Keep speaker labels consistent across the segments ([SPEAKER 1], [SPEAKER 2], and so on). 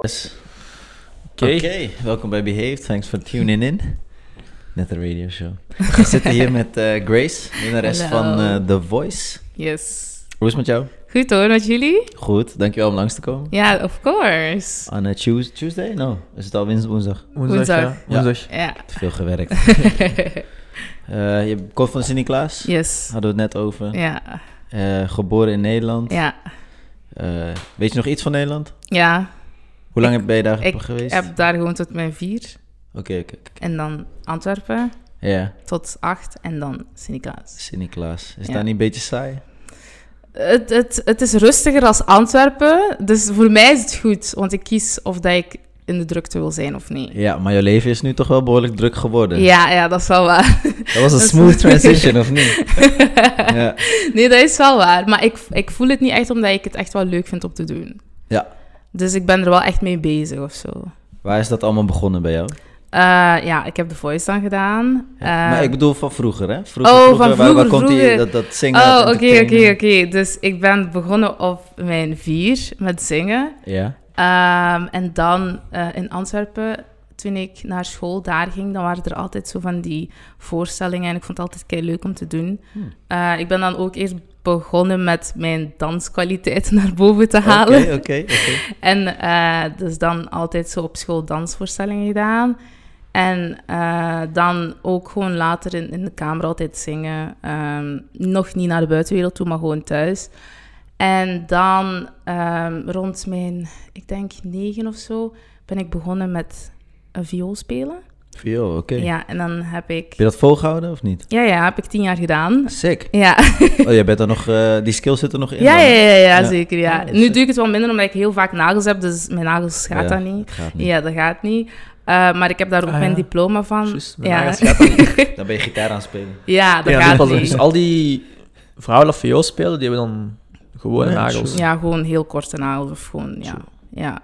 [SPEAKER 1] Yes. Oké, welkom bij Behaved. Thanks for tuning in. Net de radio show. We zitten hier met eh, Grace, winnares
[SPEAKER 2] Hallo.
[SPEAKER 1] van eh, The Voice.
[SPEAKER 2] Yes.
[SPEAKER 1] Hoe is het met jou?
[SPEAKER 2] Goed hoor, met jullie?
[SPEAKER 1] Goed, dankjewel om langs te komen.
[SPEAKER 2] Ja, of course.
[SPEAKER 1] On a Tues- Tuesday? No, is het al wins- woensdag?
[SPEAKER 2] Woensdag,
[SPEAKER 3] ja. Woensdag.
[SPEAKER 2] Ja.
[SPEAKER 1] Te veel gewerkt. Eh, je komt van Sint-Niklaas,
[SPEAKER 2] yes.
[SPEAKER 1] hadden we het net over.
[SPEAKER 2] Ja.
[SPEAKER 1] Eh, geboren in Nederland.
[SPEAKER 2] Ja.
[SPEAKER 1] Eh, weet je nog iets van Nederland?
[SPEAKER 2] Ja.
[SPEAKER 1] Hoe lang ben je daar
[SPEAKER 2] Ik
[SPEAKER 1] geweest?
[SPEAKER 2] heb daar gewoon tot mijn vier.
[SPEAKER 1] Oké, oké. oké.
[SPEAKER 2] En dan Antwerpen
[SPEAKER 1] Ja,
[SPEAKER 2] tot acht. En dan Sint-Niklaas.
[SPEAKER 1] Sint-Niklaas. Is
[SPEAKER 2] Ja.
[SPEAKER 1] dat niet een beetje saai?
[SPEAKER 2] Het, het, het is rustiger als Antwerpen. Dus voor mij is het goed. Want ik kies of dat ik in de drukte wil zijn of niet.
[SPEAKER 1] Ja, maar jouw leven is nu toch wel behoorlijk druk geworden.
[SPEAKER 2] Ja, ja, dat is wel waar.
[SPEAKER 1] Dat was een
[SPEAKER 2] Dat is-
[SPEAKER 1] smooth transition, of niet? ja.
[SPEAKER 2] Nee, dat is wel waar. Maar ik, ik voel het niet echt omdat ik het echt wel leuk vind om te doen.
[SPEAKER 1] Ja.
[SPEAKER 2] Dus ik ben er wel echt mee bezig of zo.
[SPEAKER 1] Waar is dat allemaal begonnen bij jou?
[SPEAKER 2] Eh, ja, ik heb de voice dan gedaan. Eh,
[SPEAKER 1] maar ik bedoel van vroeger, hè? Vroeger,
[SPEAKER 2] oh, van
[SPEAKER 1] vroeger, waar, waar
[SPEAKER 2] vroeger,
[SPEAKER 1] komt die,
[SPEAKER 2] vroeger.
[SPEAKER 1] dat, dat zingen?
[SPEAKER 2] oh,
[SPEAKER 1] dat
[SPEAKER 2] oké, oké,
[SPEAKER 1] entertainen?
[SPEAKER 2] oké. Dus ik ben begonnen op mijn vier met zingen.
[SPEAKER 1] Ja,
[SPEAKER 2] Ehm, en dan eh, in Antwerpen, toen ik naar school daar ging, dan waren er altijd zo van die voorstellingen. En ik vond het altijd kei leuk om te doen.
[SPEAKER 1] Hmm.
[SPEAKER 2] Eh, ik ben dan ook eerst begonnen met mijn danskwaliteiten naar boven te halen.
[SPEAKER 1] oké, oké, oké.
[SPEAKER 2] En eh, dus dan altijd zo op school dansvoorstellingen gedaan. En eh, dan ook gewoon later in, in de kamer altijd zingen. Ehm, nog niet naar de buitenwereld toe, maar gewoon thuis. En dan ehm, rond mijn, ik denk negen of zo, ben ik begonnen met een viool spelen.
[SPEAKER 1] Viool, oké.
[SPEAKER 2] Ja, en dan heb ik...
[SPEAKER 1] Heb je dat volgehouden of niet?
[SPEAKER 2] Ja, ja, heb ik tien jaar gedaan.
[SPEAKER 1] Sick.
[SPEAKER 2] Ja,
[SPEAKER 1] Oh, jij bent er nog, eh, die skill zit er nog in?
[SPEAKER 2] ja, ja,
[SPEAKER 1] dan?
[SPEAKER 2] ja, ja,
[SPEAKER 1] Ja.
[SPEAKER 2] zeker,
[SPEAKER 1] Ja,
[SPEAKER 2] ja.
[SPEAKER 1] dat is
[SPEAKER 2] Nu
[SPEAKER 1] sick.
[SPEAKER 2] doe ik het wel minder omdat ik heel vaak nagels heb, dus mijn nagels
[SPEAKER 1] Oh,
[SPEAKER 2] gaat
[SPEAKER 1] Ja,
[SPEAKER 2] dat niet.
[SPEAKER 1] Dat gaat niet.
[SPEAKER 2] Ja, dat gaat niet. Eh, maar ik heb daar ook
[SPEAKER 3] Ah,
[SPEAKER 2] mijn
[SPEAKER 3] ja.
[SPEAKER 2] diploma van.
[SPEAKER 3] Juist, mijn
[SPEAKER 2] ja.
[SPEAKER 3] nagels
[SPEAKER 1] Dan ben je gitaar aan het spelen.
[SPEAKER 2] ja, dat
[SPEAKER 3] Ja,
[SPEAKER 2] gaat
[SPEAKER 3] dat was-
[SPEAKER 2] niet.
[SPEAKER 3] dus al die vrouwen of VO spelen, die hebben dan gewone
[SPEAKER 1] Nee,
[SPEAKER 3] nagels.
[SPEAKER 1] sure.
[SPEAKER 2] Ja, gewoon heel korte nagels of gewoon, ja. ja.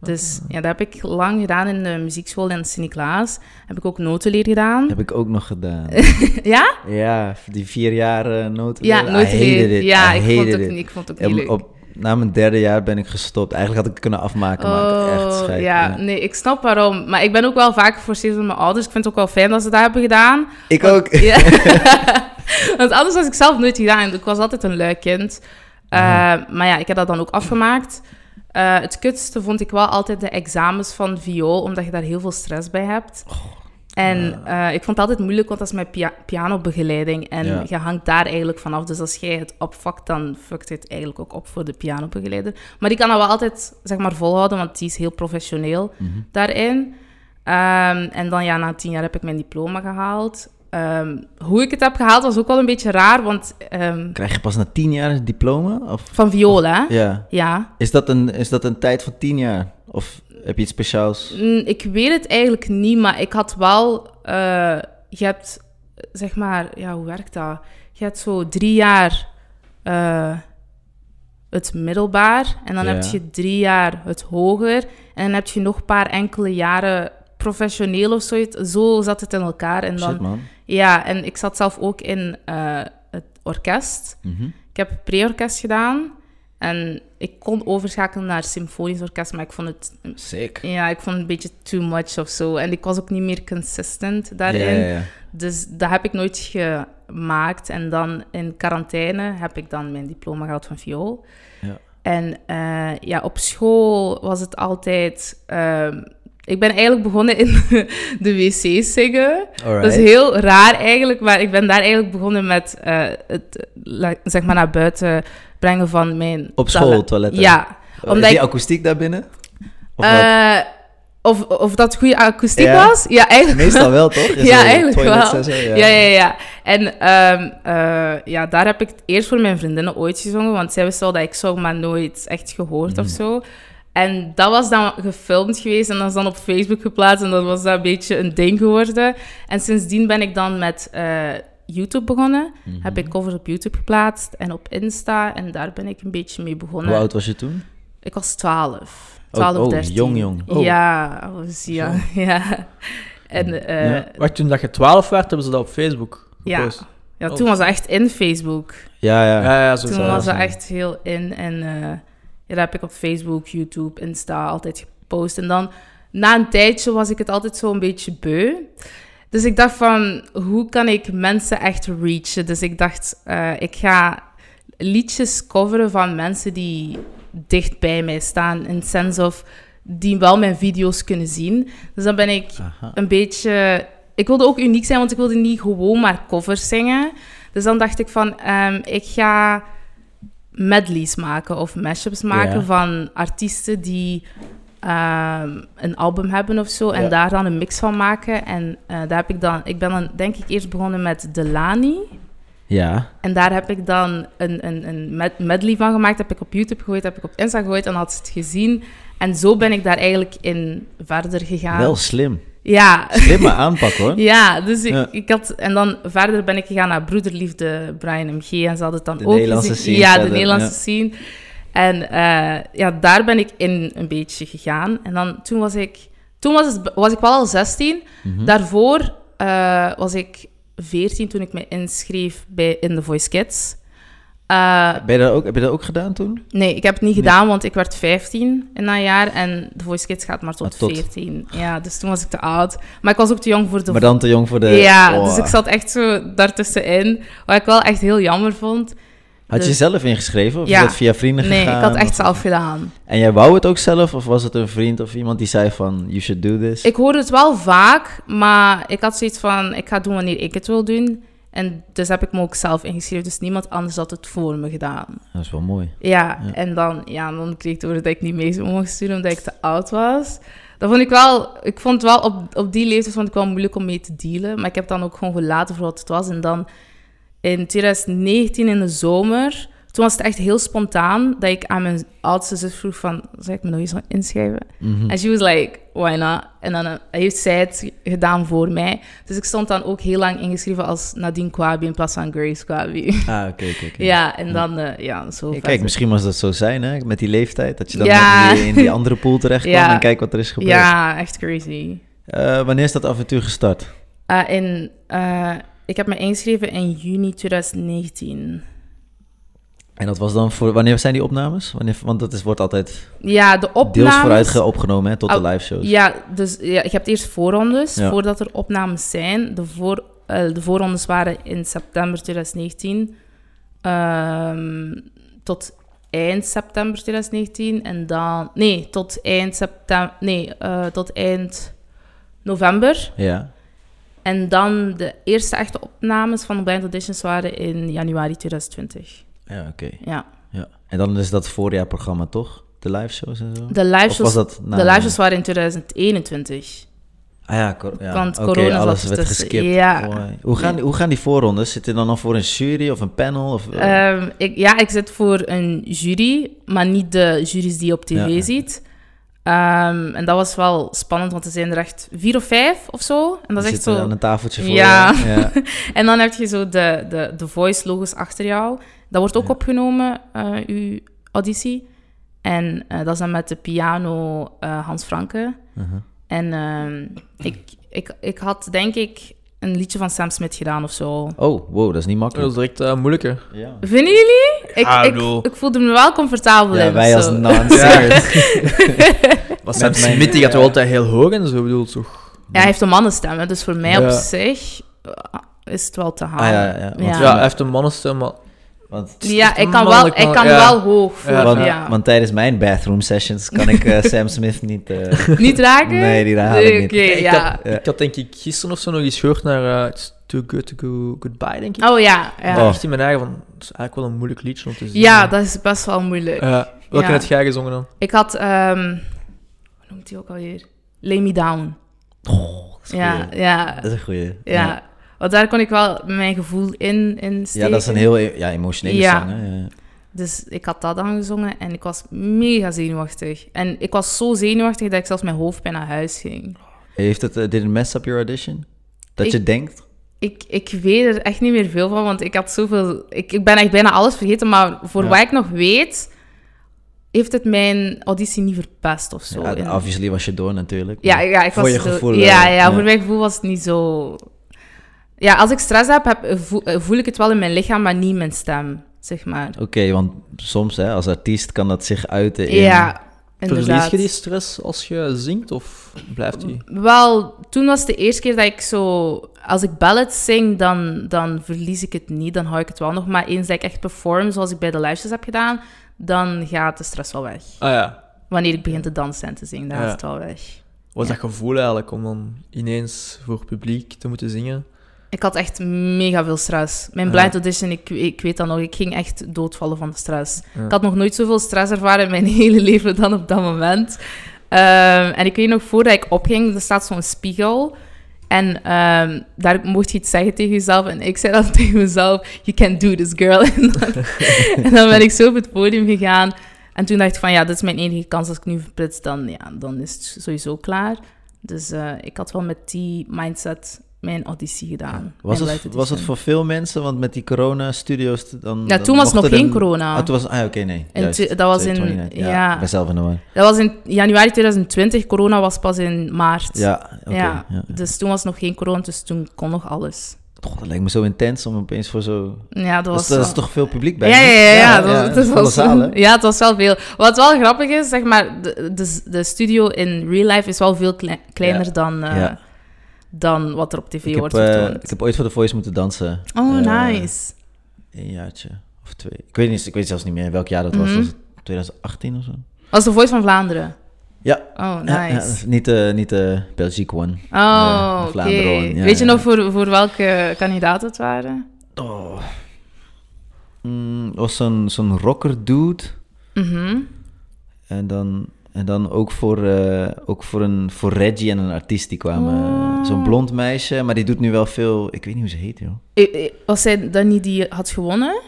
[SPEAKER 2] Dus ja, dat heb ik lang gedaan in de muziekschool in Sint-Niklaas. Heb ik ook notenleer gedaan.
[SPEAKER 1] Heb ik ook nog gedaan.
[SPEAKER 2] Hm? Ja?
[SPEAKER 1] Ja, die vier jaar eh notenleer.
[SPEAKER 2] Ja,
[SPEAKER 1] I
[SPEAKER 2] notenleer.
[SPEAKER 1] hated it.
[SPEAKER 2] Ja,
[SPEAKER 1] I
[SPEAKER 2] ik vond,
[SPEAKER 1] hated
[SPEAKER 2] het ook
[SPEAKER 1] it.
[SPEAKER 2] niet, ik vond het ook niet
[SPEAKER 1] En
[SPEAKER 2] leuk.
[SPEAKER 1] op, na mijn derde jaar ben ik gestopt. Eigenlijk had ik het kunnen afmaken, maar ik had echt
[SPEAKER 2] Oh, ja,
[SPEAKER 1] scheid.
[SPEAKER 2] nee, ik snap waarom. Maar ik ben ook wel vaak geforceerd door mijn ouders. Ik vind het ook wel fijn dat ze dat hebben gedaan.
[SPEAKER 1] Ik ook.
[SPEAKER 2] Ja. Want anders had ik zelf nooit gedaan. Ik was altijd een lui kind. Uh,
[SPEAKER 1] Mhm.
[SPEAKER 2] Maar ja, ik heb dat dan ook afgemaakt. Eh, het kutste vond ik wel altijd de examens van viool, omdat je daar heel veel stress bij hebt.
[SPEAKER 1] Oh,
[SPEAKER 2] En eh, ik vond het altijd moeilijk, want dat is mijn pia- pianobegeleiding. En
[SPEAKER 1] Ja.
[SPEAKER 2] je hangt daar eigenlijk vanaf. Dus als jij het opvakt, dan fuckt het eigenlijk ook op voor de pianobegeleider. Maar die kan dat wel altijd zeg maar, volhouden, want die is heel professioneel
[SPEAKER 1] Mhm.
[SPEAKER 2] daarin. Ehm, en dan ja, na tien jaar heb ik mijn diploma gehaald. Ehm, hoe ik het heb gehaald was ook wel een beetje raar, want ehm,
[SPEAKER 1] Krijg je pas na tien jaar een diploma? Of?
[SPEAKER 2] van viool, hè?
[SPEAKER 1] Ja.
[SPEAKER 2] Ja.
[SPEAKER 1] Is dat, een, is dat een tijd van tien jaar? Of heb je iets speciaals?
[SPEAKER 2] Mm, Ik weet het eigenlijk niet, maar ik had wel... eh, je hebt, zeg maar... Ja, hoe werkt dat? Je hebt zo drie jaar eh, het middelbaar. En dan
[SPEAKER 1] Ja.
[SPEAKER 2] heb je drie jaar het hoger. En dan heb je nog een paar enkele jaren professioneel of zoiets. Zo zat het in elkaar. En dan
[SPEAKER 1] Shit, man.
[SPEAKER 2] Ja, en ik zat zelf ook in eh, het orkest.
[SPEAKER 1] Mhm.
[SPEAKER 2] Ik heb pre-orkest gedaan en ik kon overschakelen naar symfonisch orkest, maar ik vond het,
[SPEAKER 1] Sick.
[SPEAKER 2] ja, ik vond het een beetje too much of zo. En ik was ook niet meer consistent
[SPEAKER 1] Ja,
[SPEAKER 2] daarin.
[SPEAKER 1] ja, ja.
[SPEAKER 2] Dus dat heb ik nooit gemaakt. En dan in quarantaine heb ik dan mijn diploma gehaald van viool.
[SPEAKER 1] Ja.
[SPEAKER 2] En eh, ja, op school was het altijd... ehm, ik ben eigenlijk begonnen in de wc zingen. Dat
[SPEAKER 1] Alright.
[SPEAKER 2] is heel raar eigenlijk, maar ik ben daar eigenlijk begonnen met eh, het la- zeg maar naar buiten brengen van mijn...
[SPEAKER 1] Op
[SPEAKER 2] tale-
[SPEAKER 1] school, toiletten.
[SPEAKER 2] Ja.
[SPEAKER 1] Oh, Is
[SPEAKER 2] Omdat
[SPEAKER 1] die
[SPEAKER 2] ik,
[SPEAKER 1] akoestiek daar binnen? Of wat?
[SPEAKER 2] eh, of, of dat goede akoestiek
[SPEAKER 1] Ja.
[SPEAKER 2] was? Ja, eigenlijk
[SPEAKER 1] Meestal wel, toch? In
[SPEAKER 2] Ja,
[SPEAKER 1] zo'n
[SPEAKER 2] eigenlijk
[SPEAKER 1] toilets
[SPEAKER 2] wel.
[SPEAKER 1] en zo,
[SPEAKER 2] Ja, ja, ja. En ehm, eh, ja, daar heb ik het eerst voor mijn vriendinnen ooit gezongen, want zij wisten wel dat ik zong, maar nooit echt gehoord
[SPEAKER 1] Mhm.
[SPEAKER 2] of zo. En dat was dan gefilmd geweest en dat is dan op Facebook geplaatst en dat was dan een beetje een ding geworden. En sindsdien ben ik dan met eh, YouTube begonnen.
[SPEAKER 1] Mhm.
[SPEAKER 2] Heb ik covers op YouTube geplaatst en op Insta en daar ben ik een beetje mee begonnen.
[SPEAKER 1] Hoe oud was je toen?
[SPEAKER 2] Ik was 12.
[SPEAKER 1] Oh,
[SPEAKER 2] 12,
[SPEAKER 1] oh,
[SPEAKER 2] 13.
[SPEAKER 1] jong, jong. Oh.
[SPEAKER 2] Ja, dat was ja. ja. En eh,
[SPEAKER 1] Ja.
[SPEAKER 3] Wacht, toen dat je 12 werd, hebben ze dat op Facebook
[SPEAKER 2] Ja.
[SPEAKER 3] gepost.
[SPEAKER 2] Ja, toen was dat echt in Facebook.
[SPEAKER 1] Ja, ja.
[SPEAKER 3] Ja, ja, zo
[SPEAKER 2] Toen
[SPEAKER 3] zou
[SPEAKER 2] was
[SPEAKER 3] dat
[SPEAKER 2] dat
[SPEAKER 3] zijn.
[SPEAKER 2] echt heel in. En eh ja, dat heb ik op Facebook, YouTube, Insta altijd gepost. En dan, na een tijdje was ik het altijd zo een beetje beu. Dus ik dacht van, hoe kan ik mensen echt reachen? Dus ik dacht, eh, ik ga liedjes coveren van mensen die dicht bij mij staan. In the sense of, die wel mijn video's kunnen zien. Dus dan ben ik
[SPEAKER 1] Aha.
[SPEAKER 2] een beetje... Ik wilde ook uniek zijn, want ik wilde niet gewoon maar covers zingen. Dus dan dacht ik van, ehm, ik ga medleys maken of mashups maken
[SPEAKER 3] Ja.
[SPEAKER 2] van artiesten die ehm, een album hebben of zo. En
[SPEAKER 3] Ja.
[SPEAKER 2] daar dan een mix van maken. En eh, daar heb ik dan... Ik ben dan denk ik eerst begonnen met Delani.
[SPEAKER 1] Ja.
[SPEAKER 2] En daar heb ik dan een, een, een med- medley van gemaakt. Heb ik op YouTube gegooid, heb ik op Insta gegooid en had ze het gezien. En zo ben ik daar eigenlijk in verder gegaan.
[SPEAKER 1] Wel slim.
[SPEAKER 2] Ja.
[SPEAKER 1] Slimme aanpak hoor.
[SPEAKER 2] Ja, dus ik,
[SPEAKER 1] Ja.
[SPEAKER 2] ik had... En dan verder ben ik gegaan naar Broederliefde Brian MG. En ze hadden het dan
[SPEAKER 1] De
[SPEAKER 2] ook
[SPEAKER 1] Nederlandse
[SPEAKER 2] gezien.
[SPEAKER 1] scene
[SPEAKER 2] Ja, de
[SPEAKER 1] verder,
[SPEAKER 2] Nederlandse
[SPEAKER 1] ja.
[SPEAKER 2] scene. En eh, ja, daar ben ik in een beetje gegaan. En dan, toen was ik... Toen was, het, was ik wel al 16.
[SPEAKER 1] Mhm.
[SPEAKER 2] Daarvoor eh, was ik 14 toen ik me inschreef bij In The Voice Kids. Eh,
[SPEAKER 1] Ben je dat ook, heb je dat ook gedaan toen?
[SPEAKER 2] nee, ik heb het niet gedaan, want ik werd 15 in dat jaar. En The Voice Kids gaat maar tot,
[SPEAKER 1] Ah, tot.
[SPEAKER 2] 14. Ja, dus toen was ik te oud. Maar ik was ook te jong voor de
[SPEAKER 1] Maar dan te jong voor de...
[SPEAKER 2] ja,
[SPEAKER 1] Oh.
[SPEAKER 2] dus ik zat echt zo daartussenin. Wat ik wel echt heel jammer vond.
[SPEAKER 1] Had je
[SPEAKER 2] dus-
[SPEAKER 1] zelf ingeschreven? Of
[SPEAKER 2] Ja.
[SPEAKER 1] is dat via vrienden
[SPEAKER 2] Nee, ik
[SPEAKER 1] gegaan?
[SPEAKER 2] had echt
[SPEAKER 1] Of-
[SPEAKER 2] zelf gedaan.
[SPEAKER 1] En jij wou het ook zelf? Of was het een vriend of iemand die zei van... You should do this?
[SPEAKER 2] Ik hoorde het wel vaak, maar ik had zoiets van... Ik ga doen wanneer ik het wil doen. En dus heb ik me ook zelf ingeschreven. Dus niemand anders had het voor me gedaan.
[SPEAKER 1] Dat is wel mooi.
[SPEAKER 2] Ja,
[SPEAKER 1] Ja.
[SPEAKER 2] en dan, ja, en dan kreeg ik te horen dat ik niet mee mocht sturen omdat ik te oud was. Dat vond ik wel... Ik vond wel op, op die leeftijd vond ik wel moeilijk om mee te dealen. Maar ik heb dan ook gewoon gelaten voor wat het was. En dan in 2019 in de zomer... Toen was het echt heel spontaan dat ik aan mijn oudste zus vroeg van... Zou ik me nog eens inschrijven?
[SPEAKER 1] Mhm.
[SPEAKER 2] En she was like, why not? En dan eh, heeft zij het gedaan voor mij. Dus ik stond dan ook heel lang ingeschreven als Nadine Kwabi in plaats van Grace Kwabi.
[SPEAKER 1] Ah, oké, oké, oké.
[SPEAKER 2] Ja, en dan... eh, ja, zo
[SPEAKER 1] Ja,
[SPEAKER 2] verder.
[SPEAKER 1] kijk, misschien was dat zo zijn, hè? Met die leeftijd. Dat je dan
[SPEAKER 2] Ja.
[SPEAKER 1] in, die, in die andere pool terecht kwam
[SPEAKER 2] Ja.
[SPEAKER 1] en kijk wat er is gebeurd.
[SPEAKER 2] Ja, echt crazy.
[SPEAKER 1] Eh, wanneer is dat avontuur gestart?
[SPEAKER 2] Eh, in, eh, ik heb me ingeschreven in juni 2019.
[SPEAKER 1] En dat was dan voor... Wanneer zijn die opnames? Wanneer, want dat is, wordt altijd
[SPEAKER 2] Ja, de opnames...
[SPEAKER 1] deels vooruit ge- opgenomen, hè? Tot de
[SPEAKER 2] Oh,
[SPEAKER 1] live shows.
[SPEAKER 2] Ja, dus ja, je hebt eerst voorrondes,
[SPEAKER 1] Ja.
[SPEAKER 2] voordat er opnames zijn. De, voor, eh, de voorrondes waren in september 2019 ehm, tot eind september 2019. En dan... Nee, tot eind september... Nee, eh, tot eind november.
[SPEAKER 1] Ja.
[SPEAKER 2] En dan de eerste echte opnames van de Blind Auditions waren in januari 2020.
[SPEAKER 1] Ja, oké.
[SPEAKER 2] Ja.
[SPEAKER 1] Ja. En dan is dat voorjaarprogramma toch? De live shows en zo?
[SPEAKER 2] De live
[SPEAKER 1] of was
[SPEAKER 2] shows,
[SPEAKER 1] dat na-
[SPEAKER 2] de live shows waren in 2021.
[SPEAKER 1] Ah ja, cor- ja.
[SPEAKER 2] Want
[SPEAKER 1] oké,
[SPEAKER 2] corona zat
[SPEAKER 1] alles werd
[SPEAKER 2] ertussen.
[SPEAKER 1] geskipt. Oh,
[SPEAKER 2] Ja.
[SPEAKER 1] Mooi. Hoe, gaan, hoe gaan die voorrondes? Zit je dan al voor een jury of een panel? Of, eh,
[SPEAKER 2] Ehm, ik, ja, ik zit voor een jury, maar niet de juries die je op tv
[SPEAKER 1] Ja, ja.
[SPEAKER 2] ziet. Ehm, en dat was wel spannend, want er zijn er echt vier of vijf of zo. En
[SPEAKER 1] die
[SPEAKER 2] dat is echt
[SPEAKER 1] zitten
[SPEAKER 2] zo.
[SPEAKER 1] aan een tafeltje voor
[SPEAKER 2] Ja.
[SPEAKER 1] je. Ja.
[SPEAKER 2] En dan heb je zo de, de, de voice-logos achter jou. Dat wordt ook
[SPEAKER 1] Ja.
[SPEAKER 2] opgenomen, eh uw auditie. En eh, dat is dan met de piano eh, Hans Franke.
[SPEAKER 1] Mhm.
[SPEAKER 2] En ehm, ik, ik, ik had denk ik een liedje van Sam Smith gedaan of zo.
[SPEAKER 1] Oh, wow, dat is niet
[SPEAKER 3] Dat
[SPEAKER 1] makkelijk.
[SPEAKER 3] is direct eh, moeilijker.
[SPEAKER 1] Ja.
[SPEAKER 2] Vinden jullie? Ik,
[SPEAKER 3] Ja, ik
[SPEAKER 2] ik,
[SPEAKER 3] bedoel-
[SPEAKER 2] ik voelde me wel comfortabel in.
[SPEAKER 1] Ja,
[SPEAKER 2] of
[SPEAKER 1] wij als
[SPEAKER 2] zo.
[SPEAKER 1] non-singers.
[SPEAKER 3] Maar Sam
[SPEAKER 1] Met mijn-
[SPEAKER 3] Smith die gaat
[SPEAKER 1] ja.
[SPEAKER 3] wel altijd heel hoog en zo, bedoel toch?
[SPEAKER 2] Ja, hij heeft een mannenstem, hè, dus voor mij op
[SPEAKER 3] Ja.
[SPEAKER 2] zich eh, is het wel te halen.
[SPEAKER 1] Ah, ja, ja, want-
[SPEAKER 3] Ja,
[SPEAKER 1] Ja.
[SPEAKER 3] hij heeft een mannenstem, maar...
[SPEAKER 1] Want,
[SPEAKER 2] Ja, ik kan, wel,
[SPEAKER 3] mannelijk,
[SPEAKER 2] ik kan
[SPEAKER 3] ja.
[SPEAKER 2] wel hoog voor,
[SPEAKER 3] Ja,
[SPEAKER 1] want,
[SPEAKER 2] ja.
[SPEAKER 1] want tijdens mijn bathroom sessions kan ik eh, Sam Smith niet... eh,
[SPEAKER 2] Niet raken?
[SPEAKER 1] Nee, die raken
[SPEAKER 2] Nee,
[SPEAKER 1] niet.
[SPEAKER 2] Oké,
[SPEAKER 3] Ik
[SPEAKER 2] ja.
[SPEAKER 3] had, ik had denk ik gisteren of zo nog eens gehoord naar eh, It's Too Good To Go Goodbye, denk ik.
[SPEAKER 2] Oh ja, ja.
[SPEAKER 1] Oh.
[SPEAKER 3] Ik dacht in mijn eigen van, het is eigenlijk wel een moeilijk liedje om te zingen.
[SPEAKER 2] Ja, dat is best wel moeilijk.
[SPEAKER 3] Eh, welke
[SPEAKER 2] Ja.
[SPEAKER 3] heb jij gezongen dan?
[SPEAKER 2] Ik had, ehm hoe noemt hij ook alweer? Lay Me Down.
[SPEAKER 1] oh, dat is een
[SPEAKER 2] Ja,
[SPEAKER 1] goeie.
[SPEAKER 2] ja,
[SPEAKER 1] Dat is een goeie.
[SPEAKER 2] ja. Want daar kon ik wel mijn gevoel in, in
[SPEAKER 1] Ja, dat is een
[SPEAKER 2] steken.
[SPEAKER 1] heel e- ja, emotionele
[SPEAKER 2] Ja.
[SPEAKER 1] song. Hè? ja.
[SPEAKER 2] Dus ik had dat dan gezongen en ik was mega zenuwachtig. En ik was zo zenuwachtig dat ik zelfs mijn hoofdpijn naar huis ging.
[SPEAKER 1] Heeft het, eh, did it mess up your audition? Dat
[SPEAKER 2] Ik-
[SPEAKER 1] je denkt?
[SPEAKER 2] Ik, ik weet er echt niet meer veel van, want ik had zoveel... Ik, ik ben echt bijna alles vergeten, maar voor
[SPEAKER 1] Ja.
[SPEAKER 2] wat ik nog weet, heeft het mijn auditie niet verpest of zo.
[SPEAKER 1] Ja,
[SPEAKER 2] In-
[SPEAKER 1] obviously was je door natuurlijk.
[SPEAKER 2] ja,
[SPEAKER 1] maar
[SPEAKER 2] ja, ik
[SPEAKER 1] voor
[SPEAKER 2] was
[SPEAKER 1] je
[SPEAKER 2] zo-
[SPEAKER 1] gevoel,
[SPEAKER 2] Ja, ja,
[SPEAKER 1] eh, ja.
[SPEAKER 2] voor mijn gevoel was het niet zo... Ja, als ik stress heb, heb voel, eh, voel ik het wel in mijn lichaam, maar niet in mijn stem, zeg maar.
[SPEAKER 1] Oké, want soms hè, als artiest kan dat zich uiten in
[SPEAKER 2] Ja, Inderdaad.
[SPEAKER 3] Verlies je die stress als je zingt of blijft die?
[SPEAKER 2] Wel, toen was het de eerste keer dat ik zo... Als ik ballads zing, dan, dan verlies ik het niet. Dan hou ik het wel nog. Maar eens dat ik echt perform, zoals ik bij de live shows heb gedaan, dan gaat de stress wel weg.
[SPEAKER 3] Ah ja.
[SPEAKER 2] Wanneer ik begin te dansen en te zingen, dan
[SPEAKER 3] Ja.
[SPEAKER 2] is het wel weg.
[SPEAKER 3] Wat is dat gevoel eigenlijk om dan ineens voor publiek te moeten zingen?
[SPEAKER 2] Ik had echt mega veel stress. Mijn blind audition, ik, ik weet dat nog, ik ging echt doodvallen van de stress.
[SPEAKER 3] Ja.
[SPEAKER 2] Ik had nog nooit zoveel stress ervaren in mijn hele leven dan op dat moment. Ehm, en ik weet nog, voordat ik opging, er staat zo'n spiegel. En ehm, daar mocht je iets zeggen tegen jezelf. En ik zei dan tegen mezelf, you can do this, girl. En dan, en dan ben ik zo op het podium gegaan. En toen dacht ik van, ja, dit is mijn enige kans. Als ik nu verprits, dan, ja, dan is het sowieso klaar. Dus eh, ik had wel met die mindset mijn auditie gedaan.
[SPEAKER 1] Was
[SPEAKER 2] Mijn
[SPEAKER 1] het,
[SPEAKER 2] live
[SPEAKER 1] was het
[SPEAKER 2] audition.
[SPEAKER 1] voor veel mensen? Want met die corona-studio's t- dan...
[SPEAKER 2] Ja,
[SPEAKER 1] dan
[SPEAKER 2] toen was het nog
[SPEAKER 1] mochten
[SPEAKER 2] geen
[SPEAKER 1] er-
[SPEAKER 2] corona.
[SPEAKER 1] Ah, toen was... Ah, oké, nee.
[SPEAKER 2] En
[SPEAKER 1] juist.
[SPEAKER 2] tu- dat was
[SPEAKER 1] Sorry,
[SPEAKER 2] in-
[SPEAKER 1] 29.
[SPEAKER 2] ja.
[SPEAKER 1] Ik ben zelf in de war.
[SPEAKER 2] Dat was in januari 2020. Corona was pas in maart.
[SPEAKER 1] Ja, oké.
[SPEAKER 2] ja,
[SPEAKER 1] ja. ja.
[SPEAKER 2] dus toen was nog geen corona, dus toen kon nog alles.
[SPEAKER 1] Goh, dat lijkt me zo intens om opeens voor zo...
[SPEAKER 2] Ja, dat
[SPEAKER 1] Dat
[SPEAKER 2] was
[SPEAKER 1] is, Dus dat is
[SPEAKER 2] wel-
[SPEAKER 1] toch veel publiek bij?
[SPEAKER 2] Ja, ja,
[SPEAKER 1] hè?
[SPEAKER 2] ja, ja, dat was- dat
[SPEAKER 1] volle
[SPEAKER 2] was-
[SPEAKER 1] zaal, hè?
[SPEAKER 2] ja, het was wel veel. Wat wel grappig is, zeg maar, de, de, de studio in real life is wel veel klei- kleiner
[SPEAKER 1] Ja.
[SPEAKER 2] dan, eh,
[SPEAKER 1] Ja.
[SPEAKER 2] dan wat er op tv
[SPEAKER 1] Ik heb,
[SPEAKER 2] wordt
[SPEAKER 1] eh,
[SPEAKER 2] getoond.
[SPEAKER 1] ik heb ooit voor The Voice moeten dansen.
[SPEAKER 2] oh,
[SPEAKER 1] Eh,
[SPEAKER 2] nice.
[SPEAKER 1] Een jaartje of twee. Ik weet, niet, ik weet zelfs niet meer welk jaar dat was.
[SPEAKER 2] Mhm.
[SPEAKER 1] Was het 2018 of zo?
[SPEAKER 2] Was de Voice van Vlaanderen?
[SPEAKER 1] Ja.
[SPEAKER 2] Oh,
[SPEAKER 1] Ja, ja,
[SPEAKER 2] nice.
[SPEAKER 1] niet, de, niet de Belgique one.
[SPEAKER 2] Oh,
[SPEAKER 1] de
[SPEAKER 2] oké.
[SPEAKER 1] Vlaanderen one, ja,
[SPEAKER 2] Weet je
[SPEAKER 1] ja.
[SPEAKER 2] nog voor, voor welke kandidaat het waren?
[SPEAKER 1] Oh. Mm, het was zo'n zo'n rocker dude.
[SPEAKER 2] Mhm.
[SPEAKER 1] En dan, en dan ook, voor, eh, ook voor, een, voor Reggie en een artiest die kwamen.
[SPEAKER 2] Oh.
[SPEAKER 1] Zo'n blond meisje, maar die doet nu wel veel... Ik weet niet hoe ze heet, joh.
[SPEAKER 2] Eh, eh, Was zij dan niet die had gewonnen?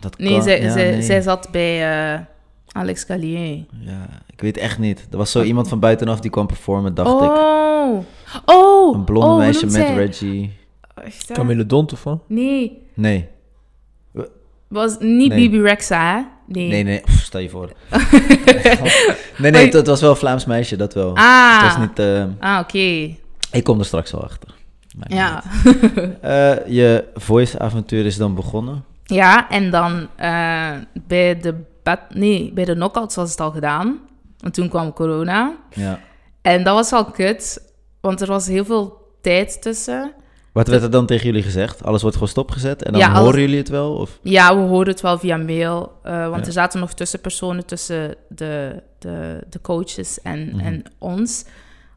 [SPEAKER 1] Dat
[SPEAKER 2] Nee,
[SPEAKER 1] kan-
[SPEAKER 2] zij,
[SPEAKER 1] ja,
[SPEAKER 2] zij,
[SPEAKER 1] nee.
[SPEAKER 2] zij zat bij eh, Alex Gallier.
[SPEAKER 1] Ja, ik weet echt niet. Er was zo iemand van buitenaf die kwam performen, dacht ik.
[SPEAKER 2] oh. Oh.
[SPEAKER 1] Een blonde
[SPEAKER 2] oh, hoe
[SPEAKER 1] meisje met
[SPEAKER 2] noemt zij? Oh,
[SPEAKER 1] Reggie.
[SPEAKER 2] Echt, hè?
[SPEAKER 3] Camille Dont of wat?
[SPEAKER 2] Nee.
[SPEAKER 1] Nee,
[SPEAKER 2] Was niet
[SPEAKER 1] Nee.
[SPEAKER 2] Bibi Rexa, hè? Nee.
[SPEAKER 1] nee, nee. Pff, stel je voor. nee, nee, het, het was wel een Vlaams meisje, dat wel.
[SPEAKER 2] Ah.
[SPEAKER 1] Het was niet... eh,
[SPEAKER 2] Ah, oké.
[SPEAKER 1] ik kom er straks wel achter. Maakt niet
[SPEAKER 2] Ja.
[SPEAKER 1] uit. Eh, je voice-avontuur is dan begonnen.
[SPEAKER 2] ja, en dan eh, bij de... bat- Nee, bij de knockouts was het al gedaan. Want toen kwam corona.
[SPEAKER 1] Ja.
[SPEAKER 2] En dat was wel kut, want er was heel veel tijd tussen.
[SPEAKER 1] Wat werd er dan tegen jullie gezegd? Alles wordt gewoon stopgezet en dan
[SPEAKER 2] Ja, alles-
[SPEAKER 1] horen jullie het wel? Of...
[SPEAKER 2] Ja, we horen het wel via mail. eh, want
[SPEAKER 1] Ja.
[SPEAKER 2] er zaten nog tussenpersonen tussen de, de, de coaches en, en ons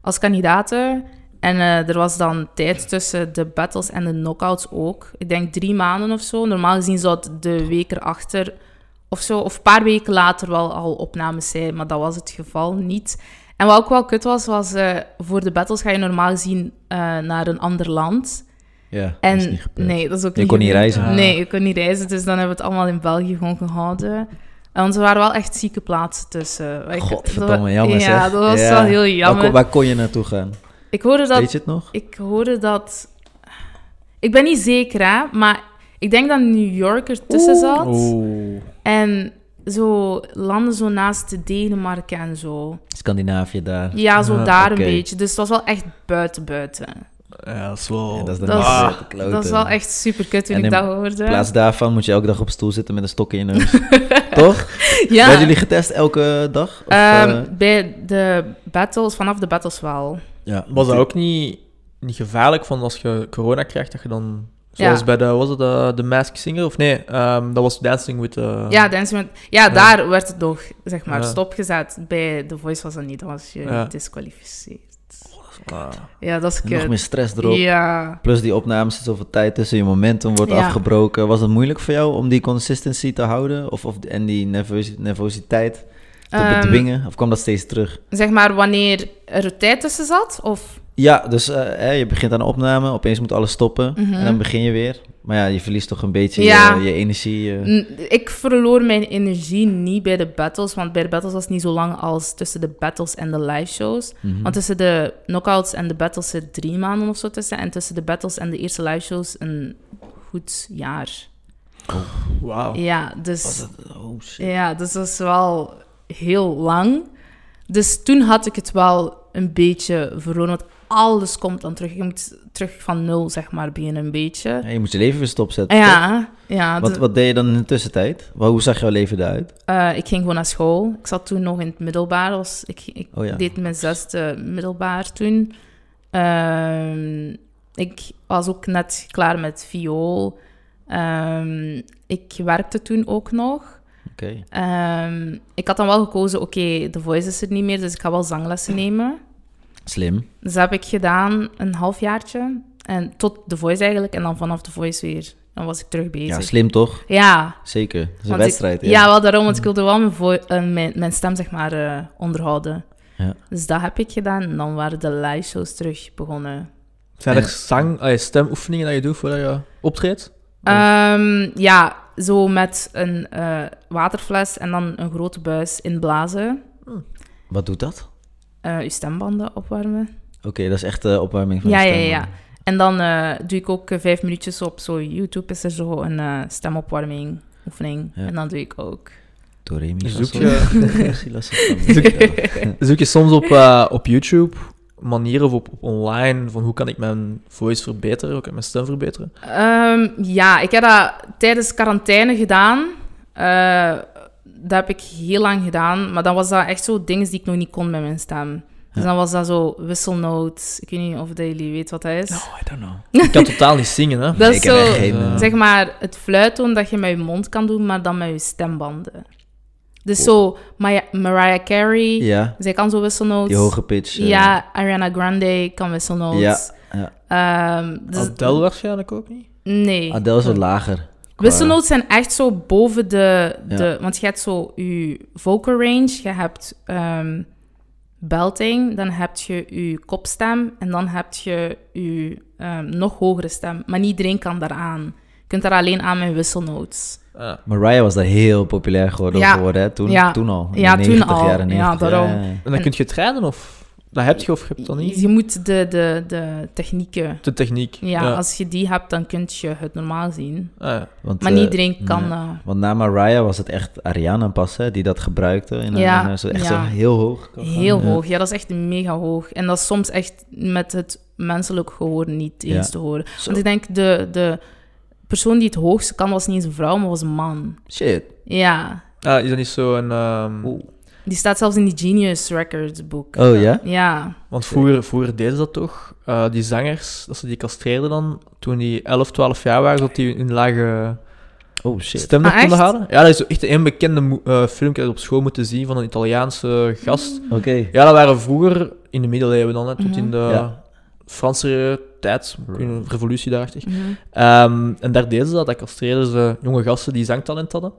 [SPEAKER 2] als kandidaten. En eh, er was dan tijd tussen de battles en de knockouts ook. Ik denk drie maanden of zo. Normaal gezien zou het de week erachter of zo, of een paar weken later wel al opnames zijn, maar dat was het geval niet. En wat ook wel kut was, was eh, voor de battles ga je normaal gezien eh, naar een ander land.
[SPEAKER 1] Ja,
[SPEAKER 2] En
[SPEAKER 1] dat is niet gebeurd.
[SPEAKER 2] nee, dat is ook
[SPEAKER 1] Je
[SPEAKER 2] niet
[SPEAKER 1] kon niet
[SPEAKER 2] gebeurd.
[SPEAKER 1] reizen.
[SPEAKER 2] Nee, je kon niet reizen, dus dan hebben we het allemaal in België gewoon gehouden. En want er waren wel echt zieke plaatsen tussen. Wat ik- dat wa-
[SPEAKER 1] Godverdomme, jammer
[SPEAKER 2] ja,
[SPEAKER 1] zeg.
[SPEAKER 2] dat was
[SPEAKER 1] Ja.
[SPEAKER 2] wel heel
[SPEAKER 1] Waar
[SPEAKER 2] jammer.
[SPEAKER 1] kon- Waar, kon je naartoe gaan?
[SPEAKER 2] Ik hoorde dat...
[SPEAKER 1] Weet je het nog?
[SPEAKER 2] Ik hoorde dat... Ik ben niet zeker, hè, maar ik denk dat New York er tussen zat.
[SPEAKER 3] Oeh.
[SPEAKER 2] En zo landen zo naast Denemarken en zo.
[SPEAKER 1] Scandinavië daar.
[SPEAKER 2] Ja, zo
[SPEAKER 3] Ah,
[SPEAKER 2] daar
[SPEAKER 1] oké.
[SPEAKER 2] een beetje. Dus het was wel echt buiten buiten.
[SPEAKER 3] Ja, dat is wel...
[SPEAKER 1] Ja, dat is dan
[SPEAKER 2] Dat,
[SPEAKER 1] niet
[SPEAKER 2] is-
[SPEAKER 1] gebeurd, de kloten.
[SPEAKER 2] dat is wel echt super kut toen
[SPEAKER 1] En
[SPEAKER 2] ik
[SPEAKER 1] in
[SPEAKER 2] dat hoorde.
[SPEAKER 1] In plaats daarvan moet je elke dag op stoel zitten met een stok in je neus. Toch?
[SPEAKER 2] ja.
[SPEAKER 1] Werden jullie getest elke dag? Of,
[SPEAKER 2] Ehm,
[SPEAKER 1] eh,
[SPEAKER 2] bij de battles, vanaf de battles wel.
[SPEAKER 1] ja.
[SPEAKER 3] Was dat ook niet, niet gevaarlijk van als je corona krijgt, dat je dan... Zoals
[SPEAKER 2] Ja.
[SPEAKER 3] bij de, was het de, de Mask Singer? Of nee, ehm, dat was Dancing with the...
[SPEAKER 1] Ah.
[SPEAKER 2] ja, Dancing with- ja, daar werd het nog zeg maar,
[SPEAKER 3] Ja.
[SPEAKER 2] stopgezet. Bij The Voice was dat niet, dan was je
[SPEAKER 3] Ja.
[SPEAKER 2] disqualificeerd.
[SPEAKER 3] Ah.
[SPEAKER 2] Ja, dat is
[SPEAKER 1] En nog
[SPEAKER 2] kut.
[SPEAKER 1] meer stress erop.
[SPEAKER 2] Ja.
[SPEAKER 1] Plus die opnames, er zoveel tijd tussen, je momentum wordt
[SPEAKER 2] Ja.
[SPEAKER 1] afgebroken. Was het moeilijk voor jou om die consistency te houden? Of, of, en die nervos- nervositeit te
[SPEAKER 2] Ehm,
[SPEAKER 1] bedwingen? Of kwam dat steeds terug?
[SPEAKER 2] Zeg maar, wanneer er tijd tussen zat, of...
[SPEAKER 1] Ja, dus eh, hè, je begint aan de opname, opeens moet alles stoppen.
[SPEAKER 2] Mhm.
[SPEAKER 1] En dan begin je weer. Maar ja, je verliest toch een beetje
[SPEAKER 2] Ja.
[SPEAKER 1] je, je energie. eh.
[SPEAKER 2] N- Ik verloor mijn energie niet bij de battles, want bij de battles was het niet zo lang als tussen de battles en de live shows.
[SPEAKER 1] Mhm.
[SPEAKER 2] Want tussen de knockouts en de battles zit drie maanden of zo tussen. En tussen de battles en de eerste live shows een goed jaar.
[SPEAKER 3] Wauw.
[SPEAKER 2] Ja, dus,
[SPEAKER 1] Oh, shit.
[SPEAKER 2] ja, dus dat is wel heel lang. Dus toen had ik het wel een beetje verloren. Want alles komt dan terug. Je moet terug van nul, zeg maar, beginnen een beetje.
[SPEAKER 1] Ja, je moet je leven weer stopzetten. toch?
[SPEAKER 2] Ja, ja.
[SPEAKER 1] Wat,
[SPEAKER 2] de-
[SPEAKER 1] wat deed je dan in de tussentijd? Wa- Hoe zag jouw leven eruit?
[SPEAKER 2] eh, ik ging gewoon naar school. Ik zat toen nog in het middelbaar. Was, ik ik
[SPEAKER 1] Oh ja.
[SPEAKER 2] deed mijn zesde middelbaar toen. Ehm, ik was ook net klaar met viool. Ehm, ik werkte toen ook nog.
[SPEAKER 1] Oké.
[SPEAKER 2] Ehm, ik had dan wel gekozen, oké, de voice is er niet meer, dus ik ga wel zanglessen
[SPEAKER 1] Mm.
[SPEAKER 2] nemen.
[SPEAKER 1] Slim.
[SPEAKER 2] Dus dat heb ik gedaan een halfjaartje. En tot de voice eigenlijk. En dan vanaf de voice weer. Dan was ik terug
[SPEAKER 1] Ja,
[SPEAKER 2] bezig.
[SPEAKER 1] slim toch?
[SPEAKER 2] Ja,
[SPEAKER 1] Zeker. Het is een
[SPEAKER 2] want ik-
[SPEAKER 1] wedstrijd.
[SPEAKER 2] ja, wel daarom, want ik wilde wel mijn, vo- eh, mijn, mijn stem zeg maar eh, onderhouden.
[SPEAKER 1] Ja.
[SPEAKER 2] Dus dat heb ik gedaan. En dan waren de live shows terug begonnen.
[SPEAKER 3] Zijn er
[SPEAKER 1] En-
[SPEAKER 3] zang, eh, stemoefeningen dat je doet voordat je optreedt? Oh.
[SPEAKER 2] Ehm, ja, zo met een eh, waterfles en dan een grote buis inblazen.
[SPEAKER 1] Wat doet dat?
[SPEAKER 2] eh je stembanden opwarmen.
[SPEAKER 1] Oké, dat is echt de opwarming van
[SPEAKER 2] Ja,
[SPEAKER 1] de
[SPEAKER 2] ja,
[SPEAKER 1] stem,
[SPEAKER 2] ja.
[SPEAKER 1] man.
[SPEAKER 2] En dan eh, doe ik ook eh, vijf minuutjes op zo YouTube is er zo een eh, stemopwarming oefening.
[SPEAKER 1] Ja.
[SPEAKER 2] En dan doe ik ook.
[SPEAKER 1] Do, re, mi,
[SPEAKER 3] Dus
[SPEAKER 1] fa,
[SPEAKER 3] doe
[SPEAKER 1] sol,
[SPEAKER 3] je-
[SPEAKER 1] la, si, la, si, fa, mi.
[SPEAKER 3] Zoek-
[SPEAKER 1] Ja.
[SPEAKER 3] Zoek je soms op, eh, op YouTube manieren of op, op online van hoe kan ik mijn voice verbeteren, hoe kan ik mijn stem verbeteren?
[SPEAKER 2] Ehm, ja, ik heb dat tijdens quarantaine gedaan. Eh, dat heb ik heel lang gedaan. Maar dan was dat echt zo dingen die ik nog niet kon met mijn stem. Dus
[SPEAKER 1] Ja.
[SPEAKER 2] dan was dat zo wisselnoot. Ik weet niet of dat jullie weten wat dat is.
[SPEAKER 1] No, Oh, I don't know.
[SPEAKER 3] Ik kan totaal niet zingen, hè?
[SPEAKER 2] dat
[SPEAKER 1] Nee,
[SPEAKER 2] is
[SPEAKER 1] ik heb
[SPEAKER 2] zo,
[SPEAKER 1] echt geen, eh,
[SPEAKER 2] zeg maar, het fluittoon dat je met je mond kan doen, maar dan met je stembanden. Dus zo Maya- Mariah Carey,
[SPEAKER 1] Ja,
[SPEAKER 2] zij kan zo wisselnoot.
[SPEAKER 1] die hoge pitch. eh,
[SPEAKER 2] Ja, Ariana Grande kan wisselnoot.
[SPEAKER 1] Ja, ja.
[SPEAKER 3] Adele waarschijnlijk ook niet.
[SPEAKER 2] dus nee.
[SPEAKER 1] Adele is wat lager. qua-
[SPEAKER 2] Wisselnoten zijn echt zo boven de,
[SPEAKER 1] Ja.
[SPEAKER 2] de... Want je hebt zo je vocal range, je hebt ehm, belting, dan heb je je kopstem en dan heb je je ehm, nog hogere stem. Maar niet iedereen kan daaraan. Je kunt daar alleen aan met wisselnotes.
[SPEAKER 3] Ah.
[SPEAKER 1] Mariah was daar heel populair geworden,
[SPEAKER 2] Ja.
[SPEAKER 1] geworden hè? Toen,
[SPEAKER 2] Ja.
[SPEAKER 1] toen al. in
[SPEAKER 2] Ja,
[SPEAKER 1] de
[SPEAKER 2] toen
[SPEAKER 1] 90
[SPEAKER 2] al.
[SPEAKER 1] Jaren
[SPEAKER 2] Ja,
[SPEAKER 1] 90.
[SPEAKER 2] daarom.
[SPEAKER 3] En dan kun je trainen of dat heb je of heb je dat niet?
[SPEAKER 2] Je moet de, de, de technieken...
[SPEAKER 3] De techniek.
[SPEAKER 2] Ja, als je die hebt, dan kun je het normaal zien.
[SPEAKER 3] Ah, ja.
[SPEAKER 1] Want,
[SPEAKER 2] Maar
[SPEAKER 1] eh,
[SPEAKER 2] niet iedereen kan...
[SPEAKER 1] nee.
[SPEAKER 2] eh,
[SPEAKER 1] Want na Mariah was het echt Ariana pas, hè, die dat gebruikte. In haar-
[SPEAKER 2] Ja,
[SPEAKER 1] in haar- zo, echt
[SPEAKER 2] ja.
[SPEAKER 1] zo heel hoog.
[SPEAKER 2] Heel
[SPEAKER 1] Ja.
[SPEAKER 2] hoog, ja, dat is echt mega hoog. En dat is soms echt met het menselijk gehoor niet
[SPEAKER 1] Ja.
[SPEAKER 2] eens te horen.
[SPEAKER 1] Zo.
[SPEAKER 2] Want ik denk, de, de persoon die het hoogste kan, was niet eens een vrouw, maar was een man.
[SPEAKER 1] Shit.
[SPEAKER 2] Ja,
[SPEAKER 3] Ah, is dat niet zo'n... ehm,
[SPEAKER 1] Oeh.
[SPEAKER 2] die staat zelfs in die Genius Records boek.
[SPEAKER 1] Oh ja?
[SPEAKER 2] Ja,
[SPEAKER 3] Want vroeger, vroeger deden ze dat toch? Eh, die zangers, dat ze die castreerden dan, toen die 11, 12 jaar waren, dat die hun lage
[SPEAKER 1] Oh shit.
[SPEAKER 3] stem nog
[SPEAKER 2] Ah,
[SPEAKER 3] konden
[SPEAKER 2] echt?
[SPEAKER 3] halen. Ja, dat is echt een bekende mo- eh, film dat je op school moeten zien van een Italiaanse gast.
[SPEAKER 1] Oké.
[SPEAKER 3] Ja, dat waren vroeger, in de middeleeuwen dan, hè,
[SPEAKER 2] Mhm.
[SPEAKER 3] tot in de
[SPEAKER 1] Ja.
[SPEAKER 3] Franse tijd, in de revolutie daarachtig.
[SPEAKER 2] Mhm.
[SPEAKER 3] Ehm, en daar deden ze dat, daar castreerden ze jonge gasten die zangtalent hadden.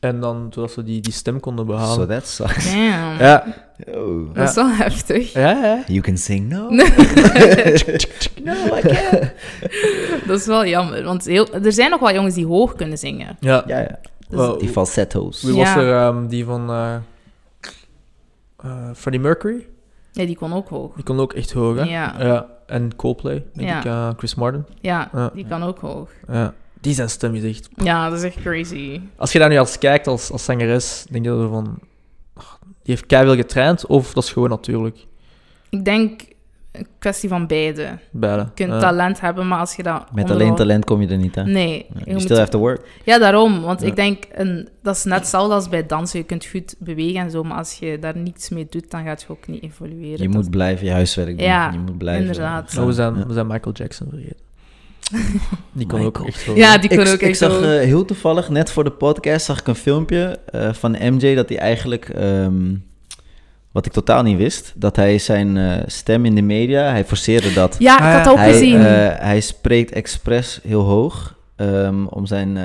[SPEAKER 3] En dan, zodat ze die, die stem konden behalen.
[SPEAKER 1] So that sucks.
[SPEAKER 2] damn.
[SPEAKER 3] Ja,
[SPEAKER 1] Oh.
[SPEAKER 2] Dat is wel heftig.
[SPEAKER 3] ja, ja.
[SPEAKER 1] You can sing no. no, I can't.
[SPEAKER 2] Dat is wel jammer, want heel, er zijn nog wel jongens die hoog kunnen zingen.
[SPEAKER 3] ja.
[SPEAKER 1] Ja, ja.
[SPEAKER 2] Dus-
[SPEAKER 3] Wel,
[SPEAKER 1] Die falsetto's.
[SPEAKER 3] Wie
[SPEAKER 2] Ja.
[SPEAKER 3] was er? ehm, die van eh, eh, Freddie Mercury.
[SPEAKER 2] Ja, die kon ook hoog.
[SPEAKER 3] Die kon ook echt hoog, hè?
[SPEAKER 2] Ja.
[SPEAKER 3] En Coldplay, denk
[SPEAKER 2] Ja.
[SPEAKER 3] ik. eh, Chris Martin. Ja.
[SPEAKER 2] Ja, die kan ook hoog.
[SPEAKER 3] Ja. Die zijn stem is echt...
[SPEAKER 2] Ja, dat is echt crazy.
[SPEAKER 3] Als je daar nu als kijkt, als, als zangeres, denk je dat er van... "Ah, Die heeft keihard getraind, of dat is gewoon natuurlijk.
[SPEAKER 2] Ik denk een kwestie van beide.
[SPEAKER 3] Beide.
[SPEAKER 2] Je kunt
[SPEAKER 3] Ja.
[SPEAKER 2] talent hebben, maar als je dat...
[SPEAKER 1] Met alleen
[SPEAKER 2] onderhoudt-
[SPEAKER 1] talent kom je er niet aan.
[SPEAKER 2] Nee. je
[SPEAKER 1] You
[SPEAKER 2] moet-
[SPEAKER 1] still have to work.
[SPEAKER 2] Ja, daarom. Want
[SPEAKER 1] Ja.
[SPEAKER 2] ik denk, een, dat is net hetzelfde als bij dansen. Je kunt goed bewegen en zo, maar als je daar niets mee doet, dan gaat je ook niet evolueren.
[SPEAKER 1] Je
[SPEAKER 2] Dat-
[SPEAKER 1] moet blijven je huiswerk doen.
[SPEAKER 2] Ja,
[SPEAKER 1] je moet blijven.
[SPEAKER 2] inderdaad.
[SPEAKER 3] Oh, we, zijn,
[SPEAKER 1] Ja.
[SPEAKER 3] we zijn Michael Jackson vergeten. Die kon ook
[SPEAKER 1] Michael.
[SPEAKER 3] echt hoog.
[SPEAKER 2] Ja, die kon
[SPEAKER 1] ik,
[SPEAKER 2] ook
[SPEAKER 1] ik
[SPEAKER 2] echt
[SPEAKER 1] zag
[SPEAKER 2] zo-
[SPEAKER 1] eh, heel toevallig, net voor de podcast, zag ik een filmpje eh, van MJ dat hij eigenlijk, ehm, wat ik totaal niet wist, dat hij zijn eh, stem in de media, hij forceerde dat.
[SPEAKER 2] Ja, ik
[SPEAKER 3] Ah,
[SPEAKER 2] had
[SPEAKER 3] ja.
[SPEAKER 2] dat ook
[SPEAKER 1] hij,
[SPEAKER 2] gezien.
[SPEAKER 1] eh, hij spreekt expres heel hoog ehm, om zijn eh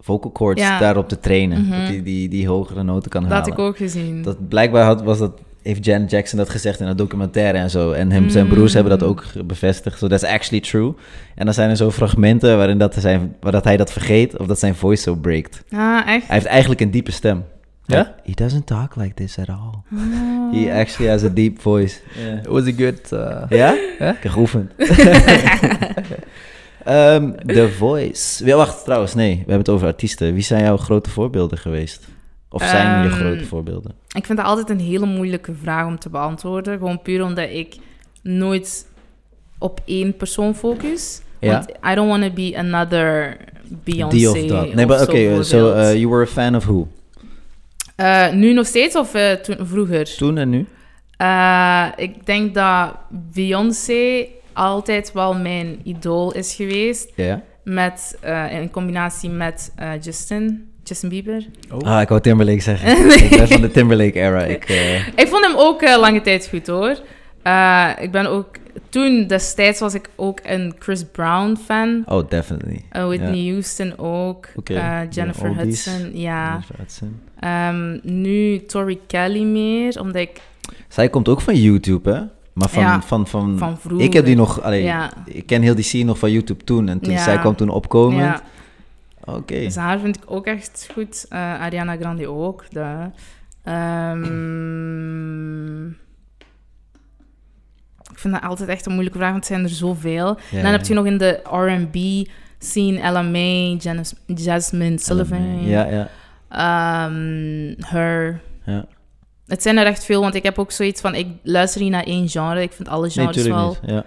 [SPEAKER 1] vocal cords
[SPEAKER 2] Ja.
[SPEAKER 1] daarop te trainen.
[SPEAKER 2] Mhm.
[SPEAKER 1] Dat hij die, die hogere noten kan
[SPEAKER 2] dat had
[SPEAKER 1] halen.
[SPEAKER 2] ik ook gezien.
[SPEAKER 1] Dat blijkbaar had, was dat, heeft Janet Jackson dat gezegd in een documentaire en zo. En hem, zijn
[SPEAKER 2] Mm.
[SPEAKER 1] broers hebben dat ook ge- bevestigd. So that's actually true. En dan zijn er zo fragmenten waarin dat zijn, waar dat hij dat vergeet of dat zijn voice zo breakt.
[SPEAKER 2] Ah, echt?
[SPEAKER 1] Hij heeft eigenlijk een diepe stem.
[SPEAKER 3] Ja?
[SPEAKER 1] He doesn't talk like this at all.
[SPEAKER 2] Ah.
[SPEAKER 1] He actually has a deep voice. Ja?
[SPEAKER 3] It was a good... eh, Ja?
[SPEAKER 1] Ik heb geoefend. Ehm, The Voice. Ja, wacht, trouwens, nee. We hebben het over artiesten. Wie zijn jouw grote voorbeelden geweest? Of zijn je
[SPEAKER 2] Ehm,
[SPEAKER 1] grote voorbeelden?
[SPEAKER 2] Ik vind dat altijd een hele moeilijke vraag om te beantwoorden. Gewoon puur omdat ik nooit op één persoon focus.
[SPEAKER 1] Ja.
[SPEAKER 2] Want I don't want to be another Beyoncé.
[SPEAKER 1] Die of dat. Nee, maar
[SPEAKER 2] zo
[SPEAKER 1] oké, eh, so
[SPEAKER 2] bijvoorbeeld.
[SPEAKER 1] eh, you were a fan of who?
[SPEAKER 2] Eh, nu nog steeds of eh, toen, vroeger?
[SPEAKER 1] Toen en nu?
[SPEAKER 2] Eh, ik denk dat Beyoncé altijd wel mijn idool is geweest.
[SPEAKER 1] Ja.
[SPEAKER 2] Met, eh, in combinatie met eh, Justin, Justin Bieber.
[SPEAKER 1] Ah, ik wou Timberlake zeggen. Ik ben van de Timberlake era. Ik, eh,
[SPEAKER 2] Ik vond hem ook eh, lange tijd goed hoor. Eh, ik ben ook, toen destijds was ik ook een Chris Brown fan.
[SPEAKER 1] oh, definitely.
[SPEAKER 2] Eh, Whitney Houston ook.
[SPEAKER 1] Oké,
[SPEAKER 2] Eh,
[SPEAKER 1] de
[SPEAKER 2] Jennifer
[SPEAKER 1] oldies.
[SPEAKER 2] Hudson,
[SPEAKER 1] Ja.
[SPEAKER 2] ja.
[SPEAKER 1] Jennifer Hudson.
[SPEAKER 2] Ehm, nu Tori Kelly meer, omdat ik
[SPEAKER 1] Zij komt ook van YouTube, hè? Maar van,
[SPEAKER 2] Ja,
[SPEAKER 1] van, van,
[SPEAKER 2] van vroeger...
[SPEAKER 1] Hmm. Ik heb die nog... Allee,
[SPEAKER 2] Ja.
[SPEAKER 1] Ik ken heel die scene nog van YouTube toen. En toen,
[SPEAKER 2] Ja.
[SPEAKER 1] zij kwam toen opkomen.
[SPEAKER 2] Ja,
[SPEAKER 1] Oké.
[SPEAKER 2] dus haar vind ik ook echt goed. Eh, Ariana Grande ook. De, Ehm, ik vind dat altijd echt een moeilijke vraag, want er zijn er zoveel.
[SPEAKER 1] Ja,
[SPEAKER 2] en dan heb
[SPEAKER 1] ja.
[SPEAKER 2] je nog in de R&B scene Ella May, Janis- Jasmine Sullivan,
[SPEAKER 1] Ja, ja.
[SPEAKER 2] ehm, Her.
[SPEAKER 1] ja.
[SPEAKER 2] Het zijn er echt veel, want ik heb ook zoiets van, ik luister niet naar één genre. Ik vind alle
[SPEAKER 1] Nee,
[SPEAKER 2] genres
[SPEAKER 1] natuurlijk
[SPEAKER 2] wel
[SPEAKER 1] niet. Ja.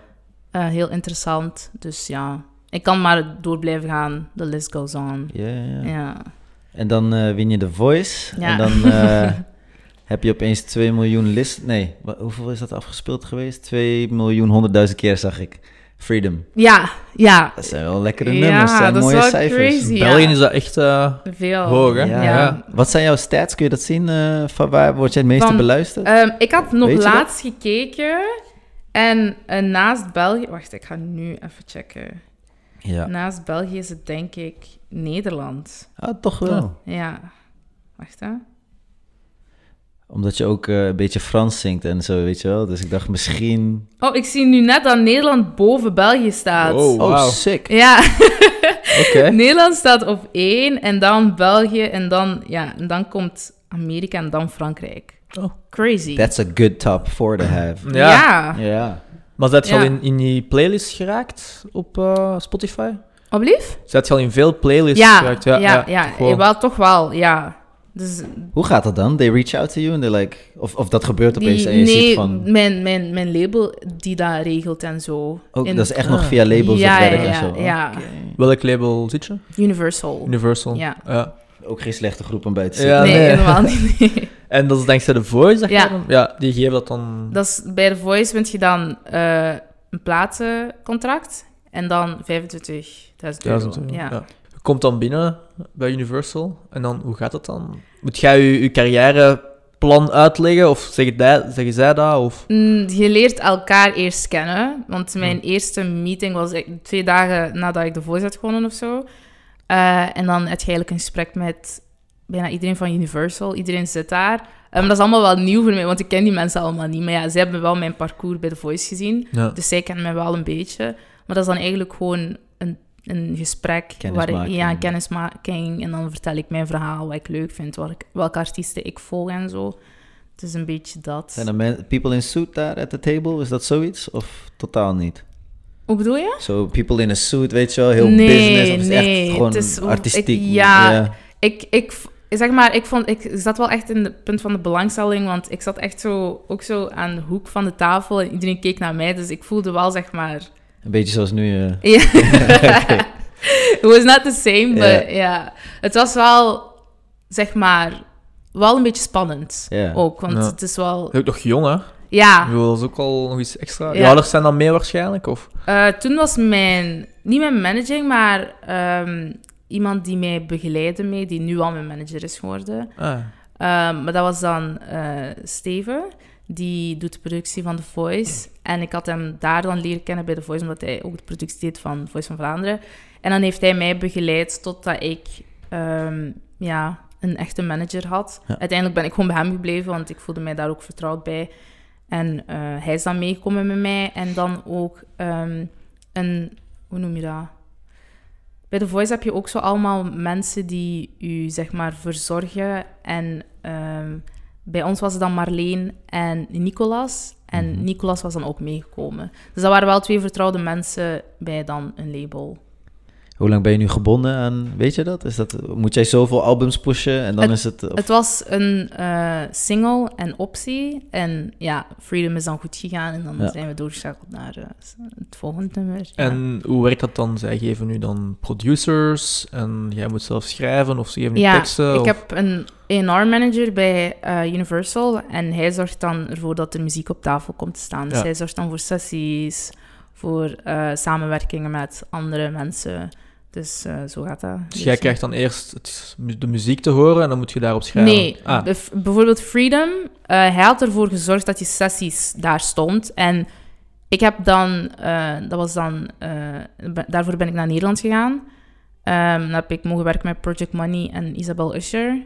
[SPEAKER 2] eh, heel interessant. Dus ja, ik kan maar door blijven gaan. The list goes on.
[SPEAKER 1] Ja, ja, ja.
[SPEAKER 2] Ja.
[SPEAKER 1] En dan eh, win je The Voice.
[SPEAKER 2] Ja.
[SPEAKER 1] En dan eh, heb je opeens 2 miljoen list... Nee, wa- hoeveel is dat afgespeeld geweest? 2 miljoen honderdduizend keer zag ik. Freedom.
[SPEAKER 2] Ja, ja.
[SPEAKER 1] Dat zijn wel lekkere
[SPEAKER 2] Ja,
[SPEAKER 1] nummers. Dat zijn
[SPEAKER 2] dat is
[SPEAKER 1] mooie
[SPEAKER 2] wel
[SPEAKER 1] cijfers.
[SPEAKER 2] crazy. Ja.
[SPEAKER 3] België is dat echt... eh,
[SPEAKER 2] Veel.
[SPEAKER 3] Hoog, hè?
[SPEAKER 1] Ja.
[SPEAKER 2] Ja.
[SPEAKER 3] Ja.
[SPEAKER 1] Wat zijn jouw stats? Kun je dat zien? eh, van waar word jij het meeste
[SPEAKER 2] Van-
[SPEAKER 1] beluisterd?
[SPEAKER 2] Ehm, ik had nog
[SPEAKER 1] Weet je dat?
[SPEAKER 2] laatst gekeken. En eh, naast België... Wacht, ik ga nu even checken.
[SPEAKER 1] ja.
[SPEAKER 2] Naast België is het denk ik Nederland.
[SPEAKER 1] Ah, toch wel.
[SPEAKER 3] Ja.
[SPEAKER 2] Ja. Wacht, hè.
[SPEAKER 1] Omdat je ook eh, een beetje Frans zingt en zo, weet je wel. Dus ik dacht misschien...
[SPEAKER 2] Oh, ik zie nu net dat Nederland boven België staat.
[SPEAKER 3] Wow.
[SPEAKER 1] Oh,
[SPEAKER 3] Wauw.
[SPEAKER 1] sick.
[SPEAKER 2] Ja,
[SPEAKER 1] Oké.
[SPEAKER 2] Nederland staat op één en dan België en dan, ja, en dan komt Amerika en dan Frankrijk.
[SPEAKER 3] Oh.
[SPEAKER 2] Crazy.
[SPEAKER 1] That's a good top four to have.
[SPEAKER 3] ja.
[SPEAKER 2] Ja.
[SPEAKER 1] Ja.
[SPEAKER 3] Maar zijn je al
[SPEAKER 2] Ja.
[SPEAKER 3] in, in die playlist geraakt op eh, Spotify?
[SPEAKER 2] Alblieft?
[SPEAKER 3] Zijn je al in veel playlists
[SPEAKER 2] Ja,
[SPEAKER 3] geraakt?
[SPEAKER 2] ja, ja,
[SPEAKER 3] toch wel.
[SPEAKER 2] wel, toch wel, ja. Dus
[SPEAKER 1] Hoe gaat dat dan? They reach out to you and they're like... Of, of dat gebeurt opeens
[SPEAKER 2] die,
[SPEAKER 1] en je ziet
[SPEAKER 2] nee,
[SPEAKER 1] van...
[SPEAKER 2] mijn, mijn, mijn label die dat regelt en zo.
[SPEAKER 1] Ook,
[SPEAKER 2] In-
[SPEAKER 1] oh, dat is echt nog
[SPEAKER 3] Ah.
[SPEAKER 1] via labels
[SPEAKER 2] Ja,
[SPEAKER 1] of werk
[SPEAKER 2] ja,
[SPEAKER 1] en
[SPEAKER 2] ja,
[SPEAKER 1] zo.
[SPEAKER 2] ja.
[SPEAKER 1] Oké.
[SPEAKER 3] Welk label zit je?
[SPEAKER 2] Universal.
[SPEAKER 3] Universal.
[SPEAKER 2] Ja.
[SPEAKER 1] Ook geen slechte groep om bij te
[SPEAKER 3] Ja,
[SPEAKER 1] zitten.
[SPEAKER 2] nee,
[SPEAKER 3] nee.
[SPEAKER 2] helemaal niet. nee.
[SPEAKER 3] En dat is dankzij de Voice dat je
[SPEAKER 2] Ja.
[SPEAKER 3] dan- ja, die geven dat dan...
[SPEAKER 2] Dat is, bij The Voice wint je dan eh, een platencontract en dan 25.000 euro.
[SPEAKER 3] 1000 euro.
[SPEAKER 2] Ja.
[SPEAKER 3] Ja. Je komt dan binnen bij Universal en dan, hoe gaat dat dan? Moet jij je, je carrièreplan uitleggen of zeggen, die- zeggen zij dat? Of...
[SPEAKER 2] Mm, Je leert elkaar eerst kennen. Want mijn eerste meeting was ik- twee dagen nadat ik de Voice had gewonnen of zo. Eh, en dan had je eigenlijk een gesprek met bijna iedereen van Universal. Iedereen zit daar. Eh, Maar dat is allemaal wel nieuw voor mij, want ik ken die mensen allemaal niet. Maar ja, ze hebben wel mijn parcours bij de Voice gezien.
[SPEAKER 3] Ja.
[SPEAKER 2] Dus zij kennen mij wel een beetje. Maar dat is dan eigenlijk gewoon een, een gesprek. Waar ik,
[SPEAKER 1] Kennismaking.
[SPEAKER 2] ja, een kennismaking. En dan vertel ik mijn verhaal, wat ik leuk vind, wat ik, welke artiesten ik volg en zo. Het is een beetje dat.
[SPEAKER 1] Zijn er men- people in suit daar at the table? Is dat zoiets? Of totaal niet?
[SPEAKER 2] Hoe bedoel je?
[SPEAKER 1] Zo, people in a suit, weet je wel, heel
[SPEAKER 2] Nee,
[SPEAKER 1] business. Of is het
[SPEAKER 2] nee,
[SPEAKER 1] echt gewoon
[SPEAKER 2] het is-
[SPEAKER 1] artistiek?
[SPEAKER 2] ik- ja. ik, ik, v- zeg maar, ik, vond, ik zat wel echt in het punt van de belangstelling, want ik zat echt zo, ook zo aan de hoek van de tafel en iedereen keek naar mij, dus ik voelde wel, zeg maar...
[SPEAKER 1] Een beetje zoals nu. eh,
[SPEAKER 2] Ja. It was not the same, but ja.
[SPEAKER 1] Ja.
[SPEAKER 2] Het was wel, zeg maar, wel een beetje spannend
[SPEAKER 1] Ja.
[SPEAKER 2] ook, want
[SPEAKER 3] Ja.
[SPEAKER 2] het is wel...
[SPEAKER 3] Ook nog jong, hè? Ik
[SPEAKER 2] Ja,
[SPEAKER 3] bedoel, dat is ook al nog iets extra. Je
[SPEAKER 2] Ah. Ja.
[SPEAKER 3] ouders zijn dan mee waarschijnlijk? Of?
[SPEAKER 2] eh, toen was mijn, niet mijn managing, maar ehm, iemand die mij begeleidde mee, die nu al mijn manager is geworden.
[SPEAKER 3] Ah.
[SPEAKER 2] Ehm, maar dat was dan eh, Steven, die doet de productie van The Voice. En ik had hem daar dan leren kennen bij The Voice, omdat hij ook de productie deed van Voice van Vlaanderen. En dan heeft hij mij begeleid totdat ik ehm, ja, een echte manager had.
[SPEAKER 1] Ja.
[SPEAKER 2] Uiteindelijk ben ik gewoon bij hem gebleven, want ik voelde mij daar ook vertrouwd bij. En eh, hij is dan meegekomen met mij. En dan ook ehm, een... Hoe noem je dat? Bij The Voice heb je ook zo allemaal mensen die u, zeg maar, verzorgen. En ehm, bij ons was het dan Marleen en Nicolas. En
[SPEAKER 1] Mhm.
[SPEAKER 2] Nicolas was dan ook meegekomen. Dus dat waren wel twee vertrouwde mensen bij dan een label.
[SPEAKER 1] Hoe lang ben je nu gebonden aan, weet je dat? Is dat moet jij zoveel albums pushen en dan
[SPEAKER 2] Het-
[SPEAKER 1] is het... of-
[SPEAKER 2] Het was een eh, single en optie. En ja, Freedom is dan goed gegaan. En dan
[SPEAKER 1] Ja.
[SPEAKER 2] zijn we doorgeschakeld naar eh, het volgende nummer. ja.
[SPEAKER 3] En hoe werkt dat dan? Zij geven nu dan producers en jij moet zelf schrijven of ze geven je
[SPEAKER 2] Ja,
[SPEAKER 3] teksten?
[SPEAKER 2] ik
[SPEAKER 3] of-
[SPEAKER 2] heb een A&R-manager bij eh, Universal. En hij zorgt dan ervoor dat er muziek op tafel komt te staan. Dus
[SPEAKER 3] Ja.
[SPEAKER 2] hij zorgt dan voor sessies, voor eh, samenwerkingen met andere mensen. Dus eh, zo gaat dat.
[SPEAKER 3] Dus jij krijgt dan eerst het- de muziek te horen en dan moet je daarop schrijven?
[SPEAKER 2] Nee,
[SPEAKER 3] Ah,
[SPEAKER 2] de f- bijvoorbeeld Freedom. eh, hij had ervoor gezorgd dat die sessies daar stond. En ik heb dan, eh, dat was dan, eh, be- daarvoor ben ik naar Nederland gegaan. Ehm, dan heb ik mogen werken met Project Money en Isabel Usher.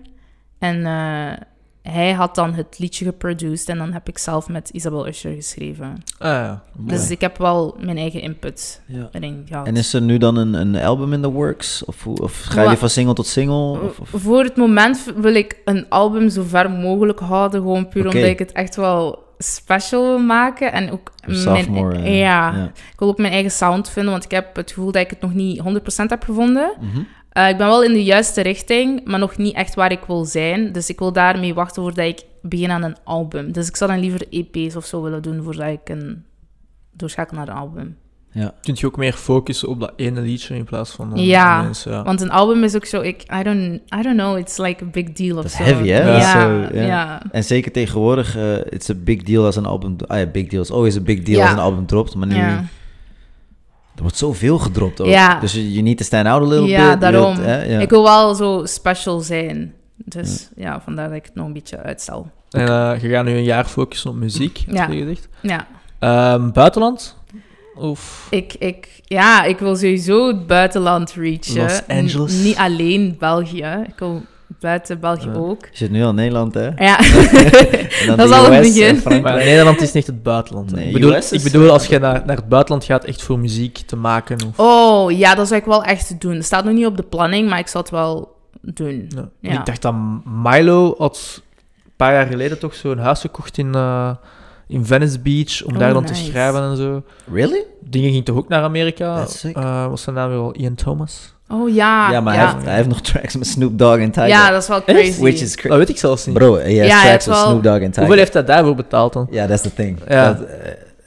[SPEAKER 2] En eh, hij had dan het liedje geproduced en dan heb ik zelf met Isabel Usher geschreven.
[SPEAKER 3] ah, ja.
[SPEAKER 2] Dus ik heb wel mijn eigen input
[SPEAKER 1] Ja.
[SPEAKER 2] erin gehad.
[SPEAKER 1] En is er nu dan een, een album in the works? Of, hoe- of ga je
[SPEAKER 2] Wa- Mm,
[SPEAKER 1] van single tot single? Of, of-
[SPEAKER 2] Voor het moment v- wil ik een album zo ver mogelijk houden. Gewoon puur
[SPEAKER 1] Oké.
[SPEAKER 2] omdat ik het echt wel special wil maken. En ook
[SPEAKER 1] sophomore,
[SPEAKER 2] mijn, e-
[SPEAKER 1] eh,
[SPEAKER 2] mm, ja,
[SPEAKER 1] ja.
[SPEAKER 2] ik wil ook mijn eigen sound vinden. Want ik heb het gevoel dat ik het nog niet 100% heb gevonden.
[SPEAKER 1] Mhm.
[SPEAKER 2] Eh, ik ben wel in de juiste richting, maar nog niet echt waar ik wil zijn. Dus ik wil daarmee wachten voordat ik begin aan een album. Dus ik zou dan liever EP's of zo willen doen voordat ik een doorschakel naar een album.
[SPEAKER 3] Kun je ook meer focussen op dat ene liedje in plaats van eh,
[SPEAKER 2] Ja,
[SPEAKER 3] mensen? Ja.
[SPEAKER 2] Want een album is ook zo, ik, I don't, I don't know, it's like a big deal of
[SPEAKER 1] Dat is
[SPEAKER 2] zo.
[SPEAKER 1] heavy, hè?
[SPEAKER 2] Ja,
[SPEAKER 1] Dat is
[SPEAKER 2] ja.
[SPEAKER 1] zo, ja. En zeker tegenwoordig, eh it's a big deal als een album... Ah ja, big deal is always a big deal
[SPEAKER 2] Ja.
[SPEAKER 1] als een album dropt. Maar nu,
[SPEAKER 2] ja.
[SPEAKER 1] er wordt zoveel gedropt ook.
[SPEAKER 2] Ja.
[SPEAKER 1] Dus je je need to stand out a little
[SPEAKER 2] ja,
[SPEAKER 1] bit. je
[SPEAKER 2] daarom.
[SPEAKER 1] wilt, hè, ja.
[SPEAKER 2] Ik wil wel zo special zijn. Dus ja. vandaar dat ik het nog een beetje uitstel.
[SPEAKER 3] En eh, je gaat nu een jaar focussen op muziek, heb
[SPEAKER 2] Ja.
[SPEAKER 3] je gezegd.
[SPEAKER 2] Ja,
[SPEAKER 3] Ehm, buitenland? Of...
[SPEAKER 2] ik, ik, ja, ik wil sowieso het buitenland reachen.
[SPEAKER 3] Los Angeles.
[SPEAKER 2] N- niet alleen België. Ik wil buiten België
[SPEAKER 3] Ja.
[SPEAKER 2] ook.
[SPEAKER 1] Je zit nu al in Nederland, hè?
[SPEAKER 2] Ja,
[SPEAKER 1] En dan
[SPEAKER 2] Eh, Dat
[SPEAKER 1] de
[SPEAKER 2] is al het
[SPEAKER 1] US en
[SPEAKER 2] begin.
[SPEAKER 1] Frankrijk.
[SPEAKER 3] Maar Nederland is niet het buitenland. hè.
[SPEAKER 1] Nee,
[SPEAKER 3] ik bedoel,
[SPEAKER 1] US is-
[SPEAKER 3] ik bedoel als je naar, naar het buitenland gaat, echt voor muziek te maken. Of,
[SPEAKER 2] oh ja, dat zou ik wel echt doen. Het staat nog niet op de planning, maar ik zou het wel doen.
[SPEAKER 3] ja.
[SPEAKER 2] Ja.
[SPEAKER 3] En Ik dacht dat Milo had een paar jaar geleden toch zo'n huis gekocht in, eh, in Venice Beach, om
[SPEAKER 2] Oh,
[SPEAKER 3] daar dan te
[SPEAKER 2] nice.
[SPEAKER 3] schrijven en zo.
[SPEAKER 1] Really?
[SPEAKER 3] Dingen ging toch ook naar Amerika?
[SPEAKER 1] That's sick.
[SPEAKER 3] Eh, was zijn naam weer al? Ian Thomas?
[SPEAKER 2] Oh ja,
[SPEAKER 1] ja, maar Hij,
[SPEAKER 2] ja.
[SPEAKER 1] heeft, hij heeft nog tracks met Snoop Dogg en Tiger.
[SPEAKER 2] Ja, dat is wel crazy.
[SPEAKER 1] Which is
[SPEAKER 3] Dat
[SPEAKER 1] crazy.
[SPEAKER 3] weet ik zelfs niet.
[SPEAKER 1] Bro, eh, hij heeft
[SPEAKER 2] Ja, hij
[SPEAKER 1] tracks
[SPEAKER 2] heeft
[SPEAKER 1] met
[SPEAKER 2] wel-
[SPEAKER 1] Snoep Dogg en Tiger.
[SPEAKER 3] Oh, Hoeveel heeft hij daarvoor betaald dan?
[SPEAKER 1] Ja, that's the thing.
[SPEAKER 3] Ja.
[SPEAKER 1] Dat,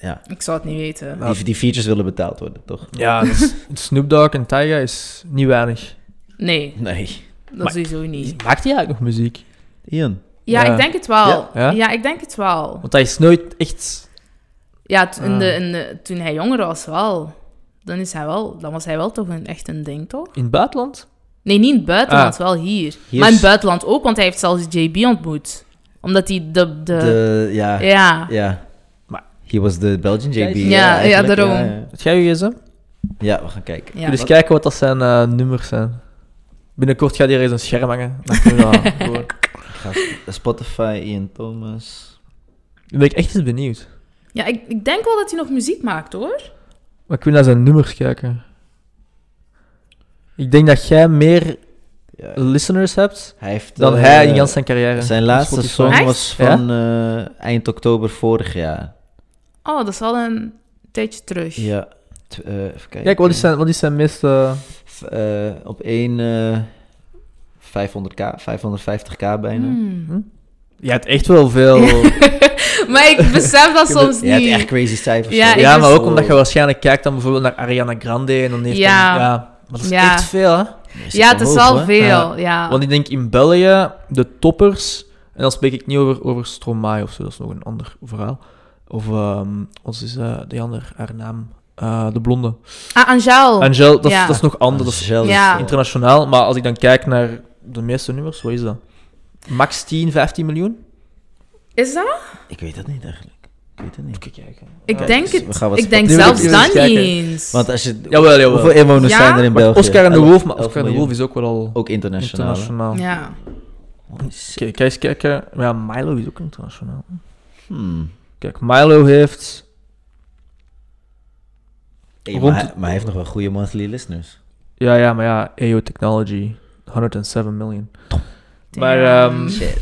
[SPEAKER 1] eh,
[SPEAKER 2] Ik zou het niet weten.
[SPEAKER 3] Ja.
[SPEAKER 1] die, die features willen betaald worden, toch?
[SPEAKER 3] Ja, dus Snoop Dogg en Tyga is niet weinig.
[SPEAKER 2] Nee,
[SPEAKER 1] Nee.
[SPEAKER 2] dat
[SPEAKER 3] Maar-
[SPEAKER 2] sowieso niet.
[SPEAKER 3] Maakt hij eigenlijk nog muziek?
[SPEAKER 1] Ian.
[SPEAKER 2] Ja,
[SPEAKER 3] Ja.
[SPEAKER 2] ik denk het wel.
[SPEAKER 3] Ja? Ja?
[SPEAKER 2] ja ik denk het wel.
[SPEAKER 3] Want hij is nooit echt...
[SPEAKER 2] Ja, t- in
[SPEAKER 3] Ah.
[SPEAKER 2] de, in de- toen hij jonger was wel. Dan, is hij wel. dan was hij wel toch een, echt een ding, toch?
[SPEAKER 3] In het buitenland?
[SPEAKER 2] Nee, niet in het buitenland,
[SPEAKER 3] Ah.
[SPEAKER 2] wel hier.
[SPEAKER 1] Hier
[SPEAKER 2] Maar in
[SPEAKER 1] is-
[SPEAKER 2] het buitenland ook, want hij heeft zelfs JB ontmoet. Omdat hij de... de,
[SPEAKER 1] De, ja, ja.
[SPEAKER 2] ja.
[SPEAKER 3] Maar-
[SPEAKER 1] He was de Belgian JB.
[SPEAKER 3] Ja,
[SPEAKER 2] ja,
[SPEAKER 1] eigenlijk.
[SPEAKER 2] daarom.
[SPEAKER 1] Ja, ja.
[SPEAKER 3] Wat jij je gsm?
[SPEAKER 1] Ja, we gaan kijken.
[SPEAKER 2] Ja.
[SPEAKER 3] Kun je eens kijken wat dat zijn eh, nummers zijn. Binnenkort gaat hier eens een scherm hangen. Dan kunnen we dat gewoon-
[SPEAKER 1] Ik ga Spotify, Ian Thomas.
[SPEAKER 3] Dan ben ik echt eens benieuwd.
[SPEAKER 2] Ja, ik, ik denk wel dat hij nog muziek maakt, hoor.
[SPEAKER 3] Maar ik wil naar zijn nummers kijken. Ik denk dat jij meer
[SPEAKER 1] Ja.
[SPEAKER 3] listeners hebt
[SPEAKER 1] Hij heeft,
[SPEAKER 3] dan
[SPEAKER 1] eh,
[SPEAKER 3] hij in Jans zijn carrière.
[SPEAKER 1] Zijn
[SPEAKER 3] op
[SPEAKER 1] laatste
[SPEAKER 3] Spotify.
[SPEAKER 1] song
[SPEAKER 2] Echt?
[SPEAKER 1] was van eh, eind oktober vorig jaar.
[SPEAKER 2] Oh, dat is al een tijdje terug.
[SPEAKER 1] Ja. T- eh, even kijken.
[SPEAKER 3] Kijk, wat is zijn, wat is zijn meest... eh,
[SPEAKER 1] F- eh, op één eh, 500k, 550k bijna.
[SPEAKER 2] Hmm.
[SPEAKER 3] Je hebt echt wel veel...
[SPEAKER 2] Maar ik besef dat soms
[SPEAKER 1] Je hebt
[SPEAKER 2] niet.
[SPEAKER 1] echt crazy cijfers.
[SPEAKER 2] Ja,
[SPEAKER 1] hoor.
[SPEAKER 2] ik
[SPEAKER 3] Ja,
[SPEAKER 2] wist-
[SPEAKER 3] maar ook omdat je waarschijnlijk kijkt dan bijvoorbeeld naar Ariana Grande en dan heeft
[SPEAKER 2] Ja.
[SPEAKER 3] dan- ja. Maar dat is
[SPEAKER 2] Ja.
[SPEAKER 3] echt veel, hè?
[SPEAKER 1] Je zit
[SPEAKER 2] Ja, het is
[SPEAKER 1] omhoog,
[SPEAKER 2] al
[SPEAKER 1] hoor.
[SPEAKER 2] veel, ja.
[SPEAKER 3] Want ik denk in België, de toppers, en dan spreek ik niet over, over Stromae of zo, dat is nog een ander verhaal. Of, ehm ons is eh die ander, haar naam, eh, de blonde.
[SPEAKER 2] Ah, Angel.
[SPEAKER 3] Angel, dat, is-
[SPEAKER 2] ja. Ah.
[SPEAKER 3] dat is nog anders, dat is
[SPEAKER 1] Zelfs,
[SPEAKER 2] Ja.
[SPEAKER 1] eh,
[SPEAKER 3] internationaal. Maar als ik dan kijk naar de meeste nummers, wat is dat? Max 10, 15 miljoen?
[SPEAKER 2] Is dat?
[SPEAKER 1] Ik weet dat niet eigenlijk. Ik weet het niet.
[SPEAKER 3] Moet ik kijken.
[SPEAKER 2] Ik
[SPEAKER 3] Ja.
[SPEAKER 2] denk
[SPEAKER 1] dus we
[SPEAKER 2] het.
[SPEAKER 1] gaan wat
[SPEAKER 2] Ik denk
[SPEAKER 3] Nu wil ik
[SPEAKER 2] zelfs
[SPEAKER 3] even
[SPEAKER 2] dan niet
[SPEAKER 3] kijken.
[SPEAKER 2] eens.
[SPEAKER 1] Want als je...
[SPEAKER 3] Jawel, jawel.
[SPEAKER 1] Hoeveel inwoners
[SPEAKER 2] Ja?
[SPEAKER 1] zijn er in
[SPEAKER 3] Maar
[SPEAKER 1] België?
[SPEAKER 3] Oscar en de
[SPEAKER 1] Elf-
[SPEAKER 3] Wolf, maar
[SPEAKER 1] elf
[SPEAKER 3] Oscar en de
[SPEAKER 1] miljoen.
[SPEAKER 3] Wolf is ook wel al
[SPEAKER 1] Ook internationaal. hè?
[SPEAKER 3] internationaal.
[SPEAKER 2] Ja.
[SPEAKER 1] Holy shit.
[SPEAKER 3] Kijk, kijk eens kijken. Ja, Milo is ook internationaal.
[SPEAKER 1] Hmm.
[SPEAKER 3] Kijk, Milo heeft...
[SPEAKER 1] Hey,
[SPEAKER 3] Rond-
[SPEAKER 1] maar, hij, maar hij heeft nog wel goede monthly listeners.
[SPEAKER 3] Ja, ja, maar ja, AO Technology, 107 miljoen. Maar
[SPEAKER 2] Damn.
[SPEAKER 3] ehm,
[SPEAKER 1] Shit.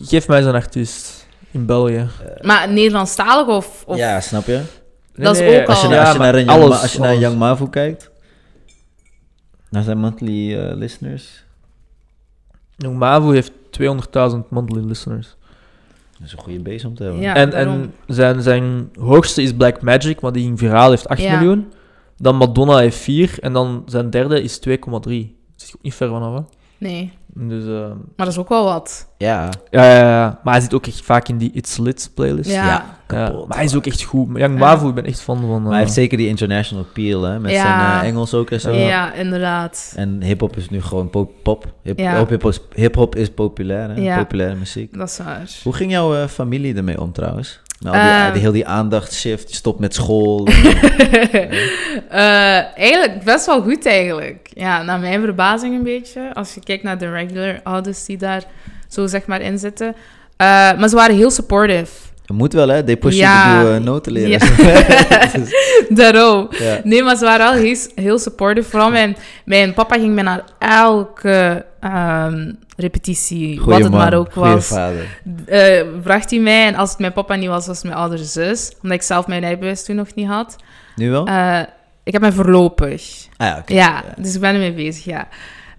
[SPEAKER 3] geef mij zo'n artiest in België.
[SPEAKER 2] Maar Nederlandstalig of... of...
[SPEAKER 1] Ja, snap je?
[SPEAKER 2] Dat is ook
[SPEAKER 1] Als je,
[SPEAKER 2] al-
[SPEAKER 1] naar-
[SPEAKER 3] Ja,
[SPEAKER 1] als je
[SPEAKER 3] maar
[SPEAKER 1] naar een Young, Ma-
[SPEAKER 3] alles-
[SPEAKER 1] als je naar een
[SPEAKER 3] alles.
[SPEAKER 1] Young Mavu kijkt... Naar zijn monthly eh, listeners.
[SPEAKER 3] Jong Mavo heeft 200.000 monthly listeners.
[SPEAKER 1] Dat is een goede base om te hebben.
[SPEAKER 2] Ja,
[SPEAKER 3] en
[SPEAKER 2] daarom.
[SPEAKER 3] en zijn, zijn hoogste is Black Magic, maar die ging viraal heeft 8
[SPEAKER 2] Ja.
[SPEAKER 3] miljoen. Dan Madonna heeft 4 en dan zijn derde is 2,3. Zit je ook niet ver vanaf, hè?
[SPEAKER 2] Nee,
[SPEAKER 3] Dus, ehm,
[SPEAKER 2] maar dat is ook wel wat.
[SPEAKER 1] Ja,
[SPEAKER 3] ja, ja, ja, maar hij zit ook echt vaak in die It's Lit playlist.
[SPEAKER 2] Ja,
[SPEAKER 1] Dus ja.
[SPEAKER 3] Ja,
[SPEAKER 1] kapot.
[SPEAKER 3] maar hij is ook echt goed. Maar Young
[SPEAKER 2] Ja.
[SPEAKER 3] Mavo, ik ben echt fan van... eh,
[SPEAKER 1] Maar hij heeft zeker die international appeal, hè? Met
[SPEAKER 2] Ja.
[SPEAKER 1] zijn eh, Engels ook en zo.
[SPEAKER 2] ja. inderdaad.
[SPEAKER 1] En hip-hop is nu gewoon pop. pop. Hip-
[SPEAKER 2] Ja.
[SPEAKER 1] hop- hip-hop is- Hip-hop is populair, hè?
[SPEAKER 2] Ja.
[SPEAKER 1] Populaire muziek.
[SPEAKER 2] Dat is waar.
[SPEAKER 1] Hoe ging jouw eh, familie ermee om trouwens? Met al die,
[SPEAKER 2] Ehm.
[SPEAKER 1] die, heel die aandachtshift, je stopt met school.
[SPEAKER 2] Eh, eigenlijk best wel goed, eigenlijk. Ja, naar mijn verbazing een beetje. Als je kijkt naar de regular ouders die daar zo zeg maar in zitten. Eh, maar ze waren heel supportive.
[SPEAKER 1] Je moet wel, hè? They push
[SPEAKER 2] Ja.
[SPEAKER 1] you to do eh, no te leren.
[SPEAKER 2] Ja.
[SPEAKER 1] Dus,
[SPEAKER 2] Daarom.
[SPEAKER 1] ja.
[SPEAKER 2] Nee, maar ze waren wel heel, heel supportive. Vooral mijn, mijn papa ging me naar elke ehm, repetitie,
[SPEAKER 1] Goeie
[SPEAKER 2] wat het
[SPEAKER 1] man,
[SPEAKER 2] maar ook
[SPEAKER 1] goeie
[SPEAKER 2] was.
[SPEAKER 1] vader.
[SPEAKER 2] eh, bracht hij mij. En als het mijn papa niet was, was het mijn oudere zus. Omdat ik zelf mijn rijbewijs toen nog niet had.
[SPEAKER 1] Nu wel?
[SPEAKER 2] Eh, ik heb mij voorlopig.
[SPEAKER 1] ah ja, Oh. oké.
[SPEAKER 2] Ja, dus ik ben ermee bezig, ja.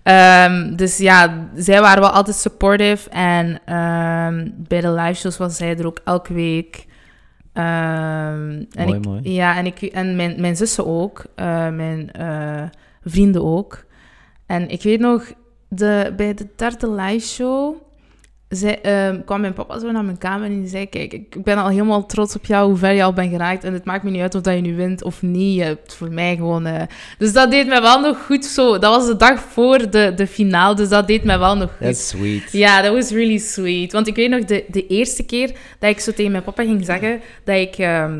[SPEAKER 2] Ehm, dus ja, zij waren wel altijd supportive. En ehm, bij de live shows was zij er ook elke week. Ehm, en
[SPEAKER 1] Mooi,
[SPEAKER 2] ik,
[SPEAKER 1] mooi.
[SPEAKER 2] Ja, en, ik, en mijn, mijn zussen ook. eh, mijn eh, vrienden ook. En ik weet nog, de, bij de derde live show zij, ehm, kwam mijn papa zo naar mijn kamer en die zei... Kijk, ik ik ben al helemaal trots op jou, hoe ver je al bent geraakt. En het maakt me niet uit of dat je nu wint of niet. Je hebt voor mij gewoon... eh." Dus dat deed mij wel nog goed zo. Dat was de dag voor de, de finale, dus dat deed mij wel nog goed.
[SPEAKER 1] That's sweet.
[SPEAKER 2] Ja, dat was really sweet. Want ik weet nog de, de eerste keer dat ik zo tegen mijn papa ging zeggen dat ik ehm,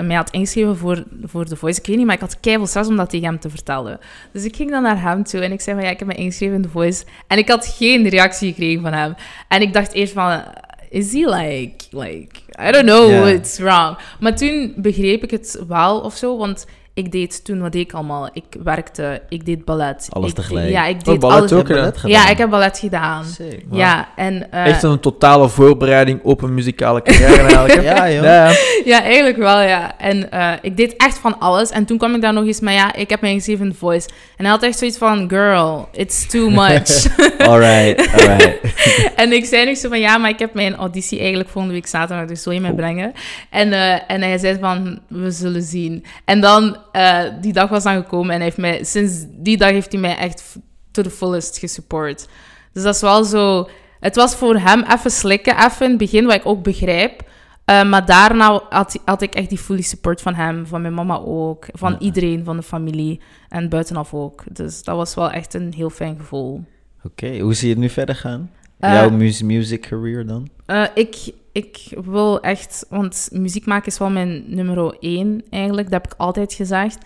[SPEAKER 2] mij had ingeschreven voor, voor The Voice. Ik weet niet, maar ik had keihard stress om dat tegen hem te vertellen. Dus ik ging dan naar hem toe en ik zei van ja, ik heb me ingeschreven in The Voice. En ik had geen reactie gekregen van hem. En ik dacht eerst van, is he like, like, I don't know,
[SPEAKER 1] Ja.
[SPEAKER 2] it's wrong. Maar toen begreep ik het wel of zo, want... Ik deed toen, wat deed ik allemaal? Ik werkte, ik deed ballet.
[SPEAKER 1] Alles
[SPEAKER 2] ik,
[SPEAKER 1] tegelijk.
[SPEAKER 2] Ja, ik
[SPEAKER 3] Oh,
[SPEAKER 2] deed
[SPEAKER 3] ballet
[SPEAKER 2] alles.
[SPEAKER 3] ook,
[SPEAKER 1] Heb je
[SPEAKER 3] hè?
[SPEAKER 1] dat
[SPEAKER 2] Ja,
[SPEAKER 1] gedaan?
[SPEAKER 2] ik heb ballet gedaan.
[SPEAKER 1] Sick.
[SPEAKER 3] Wauw.
[SPEAKER 2] Ja, en, eh,
[SPEAKER 3] Echt een totale voorbereiding op een muzikale carrière eigenlijk. hè?
[SPEAKER 1] Ja, joh.
[SPEAKER 3] Ja, ja.
[SPEAKER 2] ja, eigenlijk wel, ja. En eh, ik deed echt van alles. En toen kwam ik daar nog eens, maar ja, ik heb mijn ingeschreven in The voice. En hij had echt zoiets van, girl, it's too much.
[SPEAKER 1] Alright, alright.
[SPEAKER 2] en ik zei nog zo van, ja, maar ik heb mijn auditie eigenlijk volgende week zaterdag, dus wil je mij brengen? En, eh, en hij zei van, we zullen zien. En dan, eh, die dag was dan gekomen en hij heeft mij, sinds die dag heeft hij mij echt f- to the fullest gesupport. Dus dat is wel zo... Het was voor hem even slikken, even in het begin, wat ik ook begrijp. Eh, maar daarna had, had ik echt die fully support van hem, van mijn mama ook, van
[SPEAKER 1] Ja.
[SPEAKER 2] iedereen, van de familie en buitenaf ook. Dus dat was wel echt een heel fijn gevoel.
[SPEAKER 1] Oké, hoe zie je het nu verder gaan?
[SPEAKER 2] Eh,
[SPEAKER 1] Jouw mu- music career dan?
[SPEAKER 2] Eh, ik, ik wil echt, want muziek maken is wel mijn nummer één eigenlijk. Dat heb ik altijd gezegd.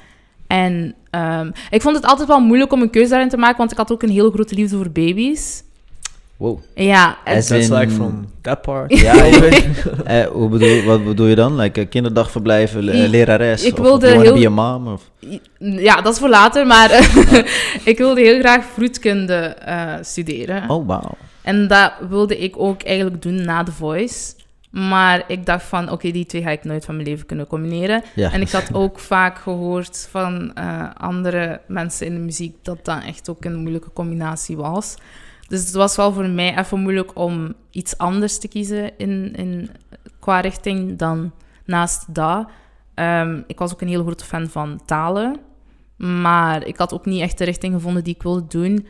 [SPEAKER 2] En ehm, ik vond het altijd wel moeilijk om een keuze daarin te maken, want ik had ook een hele grote liefde voor baby's.
[SPEAKER 1] Wow.
[SPEAKER 2] Ja, en-
[SPEAKER 1] As
[SPEAKER 3] That's like
[SPEAKER 1] in-
[SPEAKER 3] from that part.
[SPEAKER 1] Ja, ik weet- eh, hoe bedoel, wat bedoel je dan? Like eh, kinderdagverblijven, le-
[SPEAKER 2] Ik-
[SPEAKER 1] lerares?
[SPEAKER 2] ik
[SPEAKER 1] of
[SPEAKER 2] wilde
[SPEAKER 1] you wanna
[SPEAKER 2] heel-
[SPEAKER 1] be a mom? Of...
[SPEAKER 2] ja, dat is voor later, maar ik wilde heel graag vroedkunde eh, studeren.
[SPEAKER 1] Oh, wauw.
[SPEAKER 2] En dat wilde ik ook eigenlijk doen na The Voice. Maar ik dacht van, oké, die twee ga ik nooit van mijn leven kunnen combineren.
[SPEAKER 1] Ja.
[SPEAKER 2] En ik had ook vaak gehoord van eh, andere mensen in de muziek dat dat echt ook een moeilijke combinatie was. Dus het was wel voor mij even moeilijk om iets anders te kiezen in, in, qua richting dan naast dat. Ehm, ik was ook een heel grote fan van talen. Maar ik had ook niet echt de richting gevonden die ik wilde doen.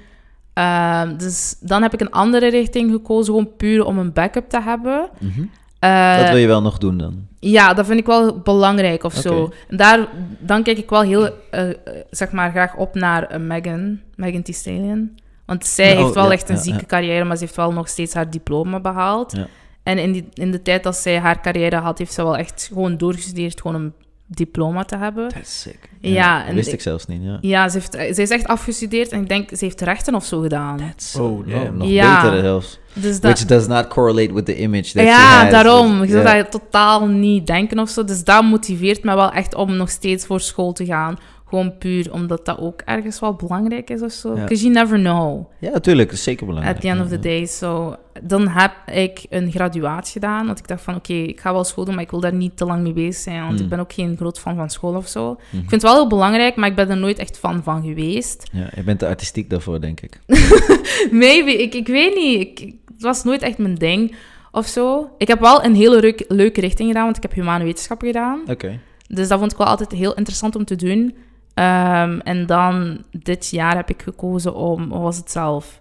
[SPEAKER 2] Ehm, dus dan heb ik een andere richting gekozen, gewoon puur om een backup te hebben.
[SPEAKER 1] Mhm.
[SPEAKER 2] Eh,
[SPEAKER 1] Dat wil je wel nog doen dan?
[SPEAKER 2] ja, dat vind ik wel belangrijk of zo.
[SPEAKER 1] Oké.
[SPEAKER 2] En daar, dan kijk ik wel heel, eh, eh, zeg maar, graag op naar eh, Megan, Megan Thee Stallion. Want zij
[SPEAKER 1] Oh,
[SPEAKER 2] heeft wel
[SPEAKER 1] ja,
[SPEAKER 2] echt een
[SPEAKER 1] ja,
[SPEAKER 2] zieke
[SPEAKER 1] ja.
[SPEAKER 2] carrière, maar ze heeft wel nog steeds haar diploma behaald.
[SPEAKER 1] Ja.
[SPEAKER 2] En in, die, in de tijd dat zij haar carrière had, heeft ze wel echt gewoon doorgestudeerd gewoon om een diploma te hebben.
[SPEAKER 1] That's sick.
[SPEAKER 2] Ja, en
[SPEAKER 1] wist
[SPEAKER 2] ik-
[SPEAKER 1] ik zelfs niet, ja.
[SPEAKER 2] Ja, ze, heeft, eh, ze is echt afgestudeerd en ik denk, ze heeft rechten of zo gedaan.
[SPEAKER 3] Oh,
[SPEAKER 1] Ja,
[SPEAKER 3] damn.
[SPEAKER 1] nog
[SPEAKER 2] Ja.
[SPEAKER 1] beter zelfs.
[SPEAKER 2] Dus dat...
[SPEAKER 1] Which does not correlate with the image that she
[SPEAKER 2] ja,
[SPEAKER 1] has.
[SPEAKER 2] daarom. Ik
[SPEAKER 1] Dus-
[SPEAKER 2] zou
[SPEAKER 1] ja.
[SPEAKER 2] dat totaal niet denken of zo. Dus dat motiveert me wel echt om nog steeds voor school te gaan. Gewoon puur omdat dat ook ergens wel belangrijk is of zo.
[SPEAKER 1] Ja.
[SPEAKER 2] Because you never know
[SPEAKER 1] Ja, natuurlijk. Dat is zeker belangrijk.
[SPEAKER 2] at the end of the day. So, dan heb ik een graduaat gedaan. Want ik dacht van, oké, ik ga wel school doen, maar ik wil daar niet te lang mee bezig zijn. Want ik
[SPEAKER 1] Mm.
[SPEAKER 2] ben ook geen groot fan van school of zo.
[SPEAKER 1] Mhm.
[SPEAKER 2] Ik vind het wel heel belangrijk, maar ik ben er nooit echt fan van geweest.
[SPEAKER 1] Ja, je bent te artistiek daarvoor, denk ik.
[SPEAKER 2] Maybe, ik, ik weet niet. Ik, ik- het was nooit echt mijn ding of zo. Ik heb wel een hele reuk- leuke richting gedaan, want ik heb humane wetenschappen gedaan.
[SPEAKER 1] Oké.
[SPEAKER 2] Dus dat vond ik wel altijd heel interessant om te doen. Ehm, en dan dit jaar heb ik gekozen om, wat was het zelf,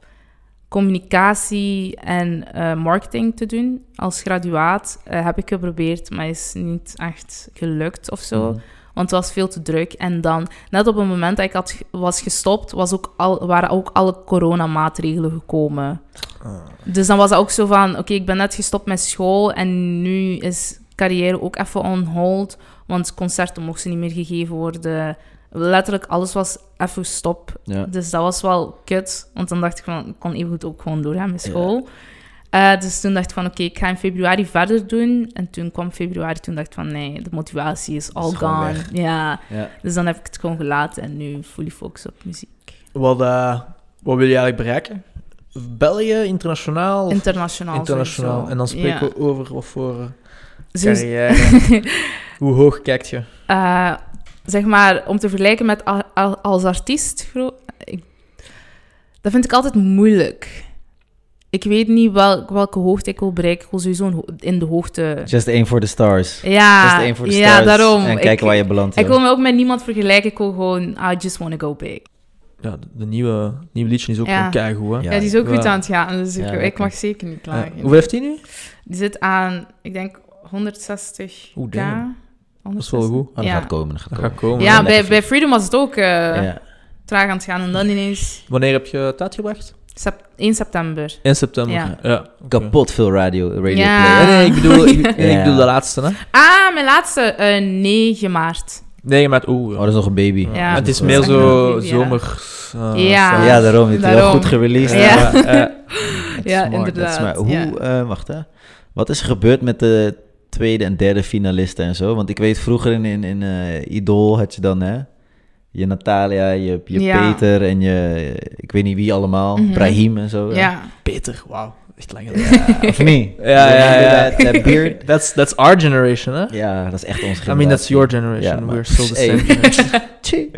[SPEAKER 2] communicatie en eh, marketing te doen. Als graduaat eh, heb ik geprobeerd, maar is niet echt gelukt of zo.
[SPEAKER 1] Mhm.
[SPEAKER 2] Want het was veel te druk. En dan, net op het moment dat ik had, ge- was gestopt, was ook al, waren ook alle coronamaatregelen gekomen. Dus dan was dat ook zo van, oké, ik ben net gestopt met school en nu is carrière ook even on hold, want concerten mochten niet meer gegeven worden. Letterlijk alles was even stop.
[SPEAKER 1] Ja.
[SPEAKER 2] Dus dat was wel kut, want dan dacht ik van, ik kon evengoed ook gewoon doorgaan met
[SPEAKER 1] Ja.
[SPEAKER 2] school. Eh, dus toen dacht ik van, oké, ik ga in februari verder doen. En toen kwam februari, toen dacht ik van, nee, de motivatie is all
[SPEAKER 1] gewoon
[SPEAKER 2] gone.
[SPEAKER 1] weg.
[SPEAKER 2] Ja,
[SPEAKER 1] ja.
[SPEAKER 2] dus dan heb ik het gewoon gelaten en nu fully focus op muziek.
[SPEAKER 3] Wat, eh, wat wil je eigenlijk bereiken? België, internationaal? of
[SPEAKER 2] Internationaal
[SPEAKER 3] internationaal.
[SPEAKER 2] sowieso.
[SPEAKER 3] En dan
[SPEAKER 2] Ja.
[SPEAKER 3] spreken we over wat voor eh,
[SPEAKER 2] Sowieso-
[SPEAKER 3] carrière. Hoe hoog kijkt je?
[SPEAKER 2] Eh, zeg maar, om te vergelijken met al- al- als artiest, gro- ik, dat vind ik altijd moeilijk. Ik weet niet wel, welke hoogte ik wil bereiken. Ik wil sowieso een ho- in de hoogte.
[SPEAKER 1] Just aim for the stars.
[SPEAKER 2] Ja,
[SPEAKER 1] Just aim for the
[SPEAKER 2] ja
[SPEAKER 1] stars.
[SPEAKER 2] daarom.
[SPEAKER 1] En
[SPEAKER 2] Ik-
[SPEAKER 1] kijken waar je belandt.
[SPEAKER 2] ik
[SPEAKER 1] joh. Oh,
[SPEAKER 2] wil me ook met niemand vergelijken. Ik wil gewoon, "Ah, I just want to go big.
[SPEAKER 3] Ja, de, de nieuwe, nieuwe liedje is ook
[SPEAKER 2] Ja.
[SPEAKER 3] gewoon keigoed, hè?
[SPEAKER 1] Ja.
[SPEAKER 2] Ja, die is ook goed
[SPEAKER 3] Ja.
[SPEAKER 2] aan het gaan. Dus ik,
[SPEAKER 1] Ja,
[SPEAKER 2] ik
[SPEAKER 1] lekker.
[SPEAKER 2] mag zeker niet
[SPEAKER 3] Ja.
[SPEAKER 2] klagen.
[SPEAKER 3] Hoeveel heeft hij nu?
[SPEAKER 2] Die zit aan, ik denk, 160k.
[SPEAKER 3] Oeh, damn. Dat is wel goed.
[SPEAKER 1] Oh, dat
[SPEAKER 2] ja.
[SPEAKER 1] gaat komen, dat gaat
[SPEAKER 3] Dat
[SPEAKER 1] komen.
[SPEAKER 3] gaat komen.
[SPEAKER 2] Ja,
[SPEAKER 1] Lekker
[SPEAKER 2] bij,
[SPEAKER 1] vliegen.
[SPEAKER 2] bij Freedom was het ook eh,
[SPEAKER 1] Ja.
[SPEAKER 2] traag aan het gaan. En dan ineens...
[SPEAKER 3] Wanneer heb je het uitgebracht?
[SPEAKER 2] Sep- 1 september.
[SPEAKER 3] In september.
[SPEAKER 2] Ja.
[SPEAKER 3] oké.
[SPEAKER 1] Kapot veel radio, radio
[SPEAKER 2] Ja.
[SPEAKER 1] play.
[SPEAKER 3] Nee, nee, ik bedoel, ik, nee, ik
[SPEAKER 1] Ah. Ja.
[SPEAKER 3] bedoel de laatste, hè?
[SPEAKER 2] Ah, mijn laatste. eh 9 maart.
[SPEAKER 3] Nee, maar oeh.
[SPEAKER 1] Oh, dat is nog een baby.
[SPEAKER 3] Ja.
[SPEAKER 2] Ja.
[SPEAKER 3] Het is
[SPEAKER 2] Dat
[SPEAKER 3] meer
[SPEAKER 2] is echt een
[SPEAKER 3] zo
[SPEAKER 2] baby, ja.
[SPEAKER 3] zomers. eh,
[SPEAKER 2] Ja.
[SPEAKER 3] stijl.
[SPEAKER 1] Ja, daarom. Het is heel
[SPEAKER 2] Daarom.
[SPEAKER 1] goed gereleased.
[SPEAKER 2] Ja. Ja.
[SPEAKER 1] Dat is
[SPEAKER 2] Ja,
[SPEAKER 1] smart, dat is
[SPEAKER 2] inderdaad,
[SPEAKER 1] smart. Hoe, eh, wacht hè. Wat is er gebeurd met de tweede en derde finalisten en zo? Want ik weet vroeger in, in, in eh, Idol had je dan hè, je Natalia, je, je
[SPEAKER 2] Ja.
[SPEAKER 1] Peter en je, eh, ik weet niet wie allemaal,
[SPEAKER 2] Mhm.
[SPEAKER 1] Brahim en zo. hè?
[SPEAKER 2] Ja.
[SPEAKER 3] Peter, wauw. Echt lang
[SPEAKER 1] Of niet?
[SPEAKER 3] Ja, ja, ja.
[SPEAKER 1] Dat- Dat beard.
[SPEAKER 3] That's, that's our generation, hè?
[SPEAKER 1] Ja, dat is echt ons
[SPEAKER 3] I mean, that's your generation.
[SPEAKER 1] Ja, maar-
[SPEAKER 3] We're still the
[SPEAKER 1] Hey.
[SPEAKER 3] same generation.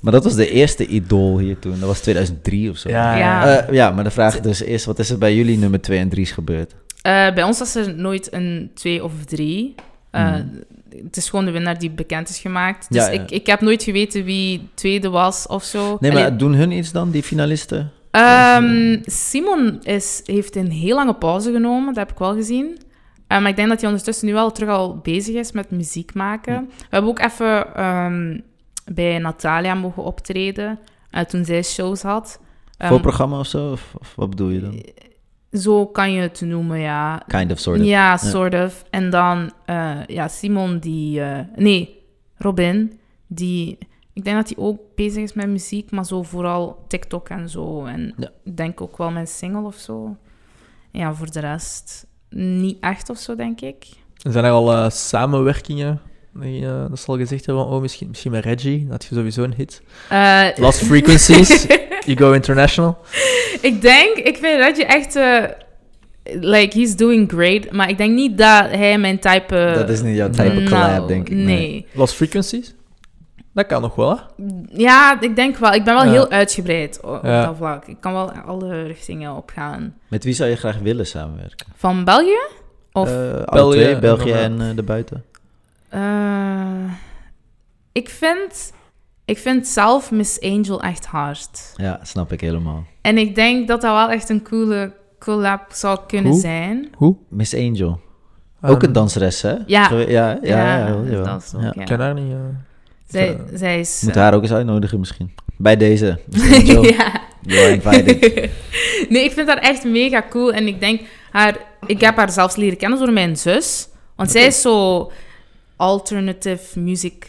[SPEAKER 1] Maar dat was de eerste Idol hier toen. Dat was 2003 of zo.
[SPEAKER 3] Ja,
[SPEAKER 2] Ja.
[SPEAKER 1] Eh, ja, maar de vraag dus is, wat is er bij jullie nummer 2 en 3 is gebeurd?
[SPEAKER 2] Eh, bij ons was er nooit een 2 of 3.
[SPEAKER 1] Mhm.
[SPEAKER 2] Het is gewoon de winnaar die bekend is gemaakt. Dus
[SPEAKER 1] Ja, ja.
[SPEAKER 2] Ik, ik heb nooit geweten wie tweede was of zo.
[SPEAKER 1] Nee, maar
[SPEAKER 2] Allee,
[SPEAKER 1] doen hun iets dan, die finalisten?
[SPEAKER 2] ehm, Simon is, heeft een heel lange pauze genomen, dat heb ik wel gezien. Eh, maar ik denk dat hij ondertussen nu wel terug al bezig is met muziek maken. We hebben ook even ehm, bij Natalia mogen optreden eh, toen zij shows had. Ehm,
[SPEAKER 1] Voorprogramma of zo? Of, of wat bedoel je dan?
[SPEAKER 2] Zo kan je het noemen, ja.
[SPEAKER 1] Kind of, sort of.
[SPEAKER 2] Ja, sort of. En dan eh, ja, Simon die... eh, nee, Robin, die... Ik denk dat hij ook bezig is met muziek, maar zo vooral TikTok en zo. En
[SPEAKER 1] Ja.
[SPEAKER 2] ik denk ook wel mijn single of zo. Ja, voor de rest niet echt of zo, denk ik.
[SPEAKER 3] Zijn er al eh, samenwerkingen? Die, eh, dat zal gezegd hebben, van, oh, misschien, misschien met Reggie, dat je sowieso een hit.
[SPEAKER 2] Eh,
[SPEAKER 3] Lost Frequencies, You Go International.
[SPEAKER 2] ik denk, ik vind dat je echt... eh, like, he's doing great. Maar ik denk niet dat hij mijn type...
[SPEAKER 1] dat is niet jouw type
[SPEAKER 2] eh, nou,
[SPEAKER 1] collab, denk ik.
[SPEAKER 2] nee.
[SPEAKER 3] Lost Frequencies? Dat kan nog wel, hè?
[SPEAKER 2] Ja, ik denk wel. Ik ben wel
[SPEAKER 3] Ja.
[SPEAKER 2] heel uitgebreid o- op
[SPEAKER 3] Ja.
[SPEAKER 2] dat vlak. Ik kan wel alle richtingen opgaan.
[SPEAKER 1] Met wie zou je graag willen samenwerken?
[SPEAKER 2] Van België? Of-
[SPEAKER 1] Eh, alle
[SPEAKER 3] België
[SPEAKER 1] twee,
[SPEAKER 3] en
[SPEAKER 1] België
[SPEAKER 3] dan,
[SPEAKER 1] en eh, daarbuiten.
[SPEAKER 2] Eh, ik, vind, ik vind zelf Miss Angel echt hard.
[SPEAKER 1] Ja, snap ik helemaal.
[SPEAKER 2] En ik denk dat dat wel echt een coole collab zou kunnen
[SPEAKER 3] Hoe? Ah,
[SPEAKER 2] zijn.
[SPEAKER 1] Miss Angel. ook een danseres, hè?
[SPEAKER 2] ja.
[SPEAKER 1] Gewe- Ja, ja, ja, jawel.
[SPEAKER 2] dat is ook,
[SPEAKER 1] Ja.
[SPEAKER 2] ja.
[SPEAKER 3] Ik ken haar niet. eh.
[SPEAKER 2] Zij,
[SPEAKER 3] eh,
[SPEAKER 2] zij is...
[SPEAKER 1] Moet
[SPEAKER 2] eh,
[SPEAKER 1] haar ook eens uitnodigen misschien. Bij deze. Miss Angel,
[SPEAKER 2] ja.
[SPEAKER 1] you are invited.
[SPEAKER 2] nee, ik vind haar echt mega cool. En ik denk haar... Ik heb haar zelfs leren kennen door mijn zus. Want zij is zo alternative music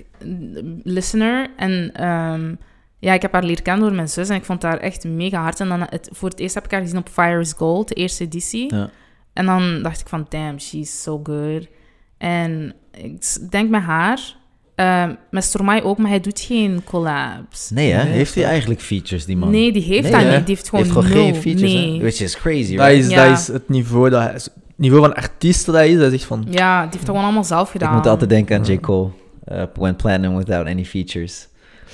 [SPEAKER 2] listener. En ehm, ja, ik heb haar leren kennen door mijn zus. En ik vond haar echt mega hard. En dan het, voor het eerst heb ik haar gezien op Fire is Gold, de eerste editie.
[SPEAKER 1] Ja.
[SPEAKER 2] En dan dacht ik van, damn, she's so good. En ik s- denk met haar... eh, Ehm, met Stromae ook, maar hij doet geen collabs.
[SPEAKER 1] Nee, hè?
[SPEAKER 3] Nee,
[SPEAKER 1] heeft hij
[SPEAKER 3] dat-
[SPEAKER 1] eigenlijk features, die man?
[SPEAKER 2] Nee, die heeft
[SPEAKER 1] Nee,
[SPEAKER 2] dat
[SPEAKER 3] hè?
[SPEAKER 2] niet. Die heeft
[SPEAKER 1] Hij
[SPEAKER 2] gewoon,
[SPEAKER 1] heeft gewoon geen
[SPEAKER 2] nul.
[SPEAKER 1] features, hè?
[SPEAKER 2] nee.
[SPEAKER 1] Which is crazy,
[SPEAKER 3] Dat
[SPEAKER 1] right?
[SPEAKER 3] is,
[SPEAKER 2] Ja.
[SPEAKER 3] dat is het niveau, dat hij, het niveau van artiest dat hij is. Dat is echt van...
[SPEAKER 2] Ja, die heeft dat gewoon allemaal zelf
[SPEAKER 1] Ik
[SPEAKER 2] gedaan.
[SPEAKER 1] moet altijd denken aan J. Cole. eh, when Platinum Without Any Features.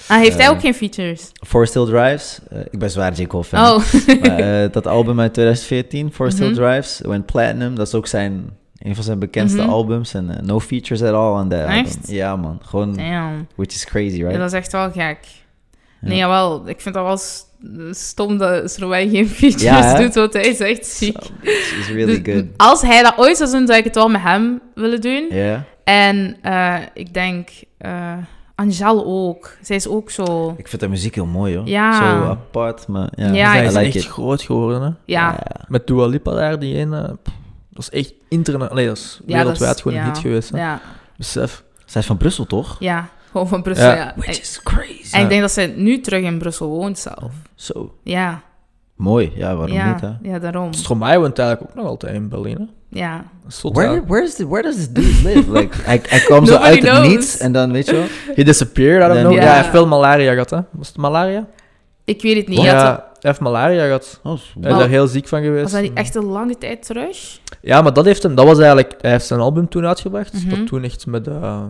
[SPEAKER 2] Ah, heeft hij
[SPEAKER 1] Eh,
[SPEAKER 2] ook geen features?
[SPEAKER 1] Forest Hill Drives. eh, ik ben zwaar J. Cole fan.
[SPEAKER 2] Oh,
[SPEAKER 1] Maar, eh, dat album uit 2014, Forest Hill
[SPEAKER 2] Mhm.
[SPEAKER 1] Drives, Went Platinum. Dat is ook zijn, een van zijn bekendste
[SPEAKER 2] Mhm.
[SPEAKER 1] albums. En eh, no features at all on that album.
[SPEAKER 2] Echt?
[SPEAKER 1] Ja, man. Gewoon,
[SPEAKER 2] damn.
[SPEAKER 1] which is crazy, right?
[SPEAKER 2] Ja, dat is echt wel gek.
[SPEAKER 1] Ja.
[SPEAKER 2] Nee, jawel. Ik vind dat wel s- stom dat Stromae geen features
[SPEAKER 1] Ja, hè?
[SPEAKER 2] doet, want hij is echt ziek.
[SPEAKER 1] So, which is really
[SPEAKER 2] Dus
[SPEAKER 1] good.
[SPEAKER 2] Als hij dat ooit zou doen, zou ik het wel met hem willen doen.
[SPEAKER 1] Ja.
[SPEAKER 2] En eh, ik denk eh Angel ook. Zij is ook zo.
[SPEAKER 1] Ik vind de muziek heel mooi, hoor.
[SPEAKER 2] Ja.
[SPEAKER 1] Zo apart, maar ja,
[SPEAKER 2] Ja,
[SPEAKER 3] hij
[SPEAKER 1] I
[SPEAKER 3] is
[SPEAKER 1] like
[SPEAKER 3] echt
[SPEAKER 1] it.
[SPEAKER 3] groot geworden, hè.
[SPEAKER 2] Ja,
[SPEAKER 3] Met Dua Lipa daar, die ene... pff, dat is echt internet... Nee, dat is
[SPEAKER 2] Ja,
[SPEAKER 3] wereldwijd
[SPEAKER 2] dat is-
[SPEAKER 3] gewoon
[SPEAKER 2] ja.
[SPEAKER 3] een hit geweest, hè.
[SPEAKER 2] ja,
[SPEAKER 3] Besef.
[SPEAKER 1] Zij is van Brussel, toch?
[SPEAKER 2] ja. Gewoon van Brussel.
[SPEAKER 3] Ja.
[SPEAKER 2] Dus, Ja.
[SPEAKER 1] Which
[SPEAKER 2] En,
[SPEAKER 1] is crazy.
[SPEAKER 2] en ik denk dat zij nu terug in Brussel woont zelf.
[SPEAKER 1] Zo,
[SPEAKER 2] Ja,
[SPEAKER 1] mooi. Ja, waarom
[SPEAKER 2] ja,
[SPEAKER 1] niet, hè?
[SPEAKER 2] ja daarom.
[SPEAKER 3] Stromae woont eigenlijk ook nog altijd in Berlijn, hè.
[SPEAKER 2] Ja.
[SPEAKER 3] Dat is zot,
[SPEAKER 1] Where,
[SPEAKER 3] hè.
[SPEAKER 1] where, is the, where does this dude live? Like, hij, hij kwam zo
[SPEAKER 2] Nobody
[SPEAKER 1] uit het
[SPEAKER 2] knows.
[SPEAKER 1] niets en dan, weet je wel... Oh,
[SPEAKER 3] He disappeared, I don't
[SPEAKER 1] Dan-
[SPEAKER 3] know.
[SPEAKER 2] Ja.
[SPEAKER 3] Ja, hij heeft veel malaria gehad, hè. Was het malaria?
[SPEAKER 2] Ik weet het niet.
[SPEAKER 3] Ja,
[SPEAKER 2] Ja,
[SPEAKER 3] hij
[SPEAKER 2] dat-
[SPEAKER 3] heeft malaria gehad.
[SPEAKER 1] Oh,
[SPEAKER 3] Hij is
[SPEAKER 2] Maar-
[SPEAKER 3] daar heel ziek van geweest. Mm.
[SPEAKER 2] was dat niet echt een lange tijd terug?
[SPEAKER 3] Ja, maar dat heeft hem... Dat was eigenlijk... Hij heeft zijn album toen uitgebracht.
[SPEAKER 2] Mhm.
[SPEAKER 3] Dat toen echt met... eh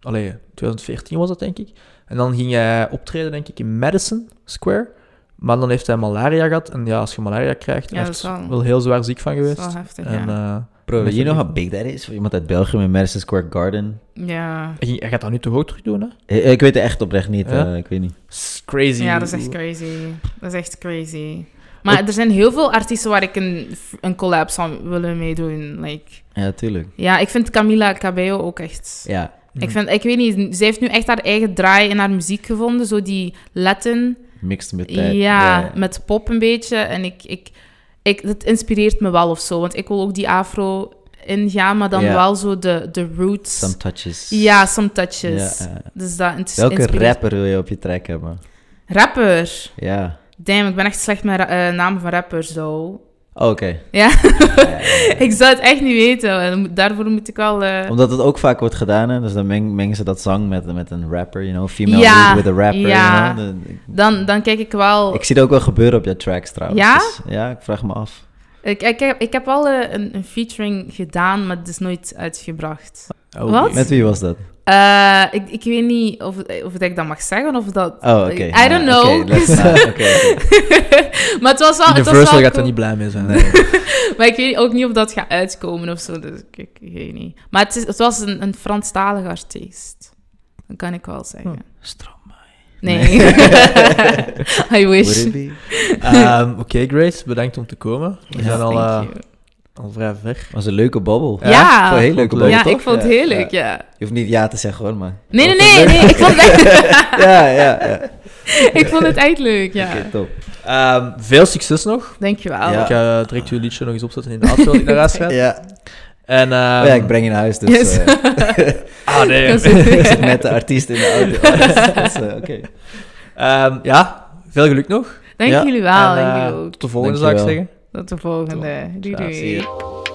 [SPEAKER 3] allee, 2014 was dat, denk ik. En dan ging hij optreden, denk ik, in Madison Square. Maar dan heeft hij malaria gehad. En ja, als je malaria krijgt,
[SPEAKER 2] Ja,
[SPEAKER 3] hij
[SPEAKER 2] dat
[SPEAKER 3] is
[SPEAKER 2] is wel-
[SPEAKER 3] wel... heel zwaar ziek van
[SPEAKER 2] Dat is
[SPEAKER 3] geweest.
[SPEAKER 2] wel heftig,
[SPEAKER 3] En
[SPEAKER 2] ja.
[SPEAKER 3] eh,
[SPEAKER 1] Bro,
[SPEAKER 3] Weet
[SPEAKER 1] you
[SPEAKER 3] je
[SPEAKER 1] know
[SPEAKER 3] niet.
[SPEAKER 1] how big that is? Voor iemand uit België met Madison Square Garden.
[SPEAKER 2] Ja.
[SPEAKER 3] hij ging- hij gaat dat nu toch ook terug doen, hè?
[SPEAKER 1] Eh, eh, Ik weet het echt oprecht niet.
[SPEAKER 3] Ja?
[SPEAKER 1] eh, ik weet niet.
[SPEAKER 3] Is Crazy.
[SPEAKER 2] ja, dat is echt crazy. Dat is echt crazy. Maar er zijn heel veel artiesten waar ik een, een collab zou willen meedoen. Like,
[SPEAKER 1] Ja, tuurlijk.
[SPEAKER 2] ja, ik vind Camila Cabello ook echt...
[SPEAKER 1] Ja.
[SPEAKER 3] Mhm.
[SPEAKER 2] Ik, vind, ik weet niet, zij heeft nu echt haar eigen draai in haar muziek gevonden. Zo die Latin,
[SPEAKER 1] Mixed met
[SPEAKER 2] ja,
[SPEAKER 1] tijd.
[SPEAKER 2] met pop een beetje. En ik, ik, ik, dat inspireert me wel of zo. Want ik wil ook die afro ingaan, maar dan
[SPEAKER 1] Ja.
[SPEAKER 2] wel zo de, de roots.
[SPEAKER 1] Some touches.
[SPEAKER 2] Ja, some touches.
[SPEAKER 1] Ja, ja.
[SPEAKER 2] Dus dat ins-
[SPEAKER 1] Welke
[SPEAKER 2] inspireert-
[SPEAKER 1] rapper wil je op je track hebben?
[SPEAKER 2] Rapper.
[SPEAKER 1] Ja.
[SPEAKER 2] Damn, ik ben echt slecht met ra- eh, namen van rappers, zo.
[SPEAKER 1] Oh, Oké.
[SPEAKER 2] Ja, ik zou het echt niet weten. En Daarvoor moet ik wel... eh,
[SPEAKER 1] Omdat het ook vaak wordt gedaan, hè? dus dan meng- mengen ze dat zang met, met een rapper, you know, female lead
[SPEAKER 2] Ja,
[SPEAKER 1] with a rapper.
[SPEAKER 2] ja.
[SPEAKER 1] You know? De- ik-
[SPEAKER 2] Dan, dan kijk ik wel...
[SPEAKER 1] ik
[SPEAKER 2] Ik,
[SPEAKER 1] zie dat ook wel gebeuren op je tracks trouwens.
[SPEAKER 2] Ja?
[SPEAKER 1] Dus, ja, ik vraag me af.
[SPEAKER 2] ik, heb, ik heb wel eh, een, een featuring gedaan, maar het is nooit uitgebracht.
[SPEAKER 3] Oh,
[SPEAKER 2] Wat?
[SPEAKER 1] Met wie was dat?
[SPEAKER 2] Eh, ik, ik weet niet of, of dat ik dat mag zeggen of dat...
[SPEAKER 1] Oh, oké.
[SPEAKER 2] I don't
[SPEAKER 1] Ja,
[SPEAKER 2] know.
[SPEAKER 1] oké, let's- ah, oké, oké.
[SPEAKER 2] maar het was wel... Het was
[SPEAKER 3] Universal
[SPEAKER 2] wel
[SPEAKER 3] gaat er
[SPEAKER 2] cool.
[SPEAKER 3] niet blij mee zijn.
[SPEAKER 1] Nee.
[SPEAKER 2] Maar ik weet ook niet of dat gaat uitkomen of zo, dus ik, ik weet niet. Maar het, is, het was een, een Franstalig artiest. Dat kan ik wel zeggen.
[SPEAKER 3] Oh.
[SPEAKER 1] Stromae.
[SPEAKER 2] Nee. I
[SPEAKER 1] Would
[SPEAKER 2] wish.
[SPEAKER 1] it be?
[SPEAKER 3] Ehm, Oké, Grace, bedankt om te komen. We
[SPEAKER 1] Ja,
[SPEAKER 3] zijn al,
[SPEAKER 2] Thank
[SPEAKER 3] eh,
[SPEAKER 2] you.
[SPEAKER 3] al vrij ver.
[SPEAKER 1] was een leuke babbel.
[SPEAKER 2] Ja.
[SPEAKER 1] Vond je een hele leuke
[SPEAKER 3] Vond
[SPEAKER 1] babbel,
[SPEAKER 3] leuk,
[SPEAKER 2] ja,
[SPEAKER 1] toch?
[SPEAKER 2] ik vond het
[SPEAKER 1] Ja,
[SPEAKER 2] heerlijk,
[SPEAKER 1] ja.
[SPEAKER 2] ja.
[SPEAKER 1] Je hoeft niet ja te zeggen hoor, maar...
[SPEAKER 2] Nee, nee,
[SPEAKER 1] Ik
[SPEAKER 2] nee,
[SPEAKER 1] vond het
[SPEAKER 2] nee.
[SPEAKER 1] leuk.
[SPEAKER 2] Ik vond het echt,
[SPEAKER 1] Ja, ja, ja.
[SPEAKER 2] ik vond het echt leuk, ja.
[SPEAKER 1] Oké, top.
[SPEAKER 3] Ehm, veel succes nog.
[SPEAKER 2] Dankjewel.
[SPEAKER 1] Ja.
[SPEAKER 2] Ja.
[SPEAKER 3] Ik ga direct uw liedje nog eens opzetten in de auto als ik naar huis ga.
[SPEAKER 1] Ja.
[SPEAKER 3] En,
[SPEAKER 1] Oh
[SPEAKER 3] ehm,
[SPEAKER 1] ja, ik breng je naar huis, dus...
[SPEAKER 2] Yes.
[SPEAKER 1] eh,
[SPEAKER 3] Ah, nee.
[SPEAKER 2] Dat is-
[SPEAKER 1] ik zit met de artiest in de auto. Oh, dat is- dat is, eh, Oké.
[SPEAKER 3] Ehm, ja, veel geluk nog.
[SPEAKER 2] Dank
[SPEAKER 1] Ja,
[SPEAKER 2] jullie wel.
[SPEAKER 3] en, eh,
[SPEAKER 2] Dank jullie ook.
[SPEAKER 3] tot de volgende, zou ik
[SPEAKER 1] Dankjewel.
[SPEAKER 3] zeggen.
[SPEAKER 2] Tot de volgende. Doei,
[SPEAKER 3] Ja,
[SPEAKER 2] doei.
[SPEAKER 1] zie je.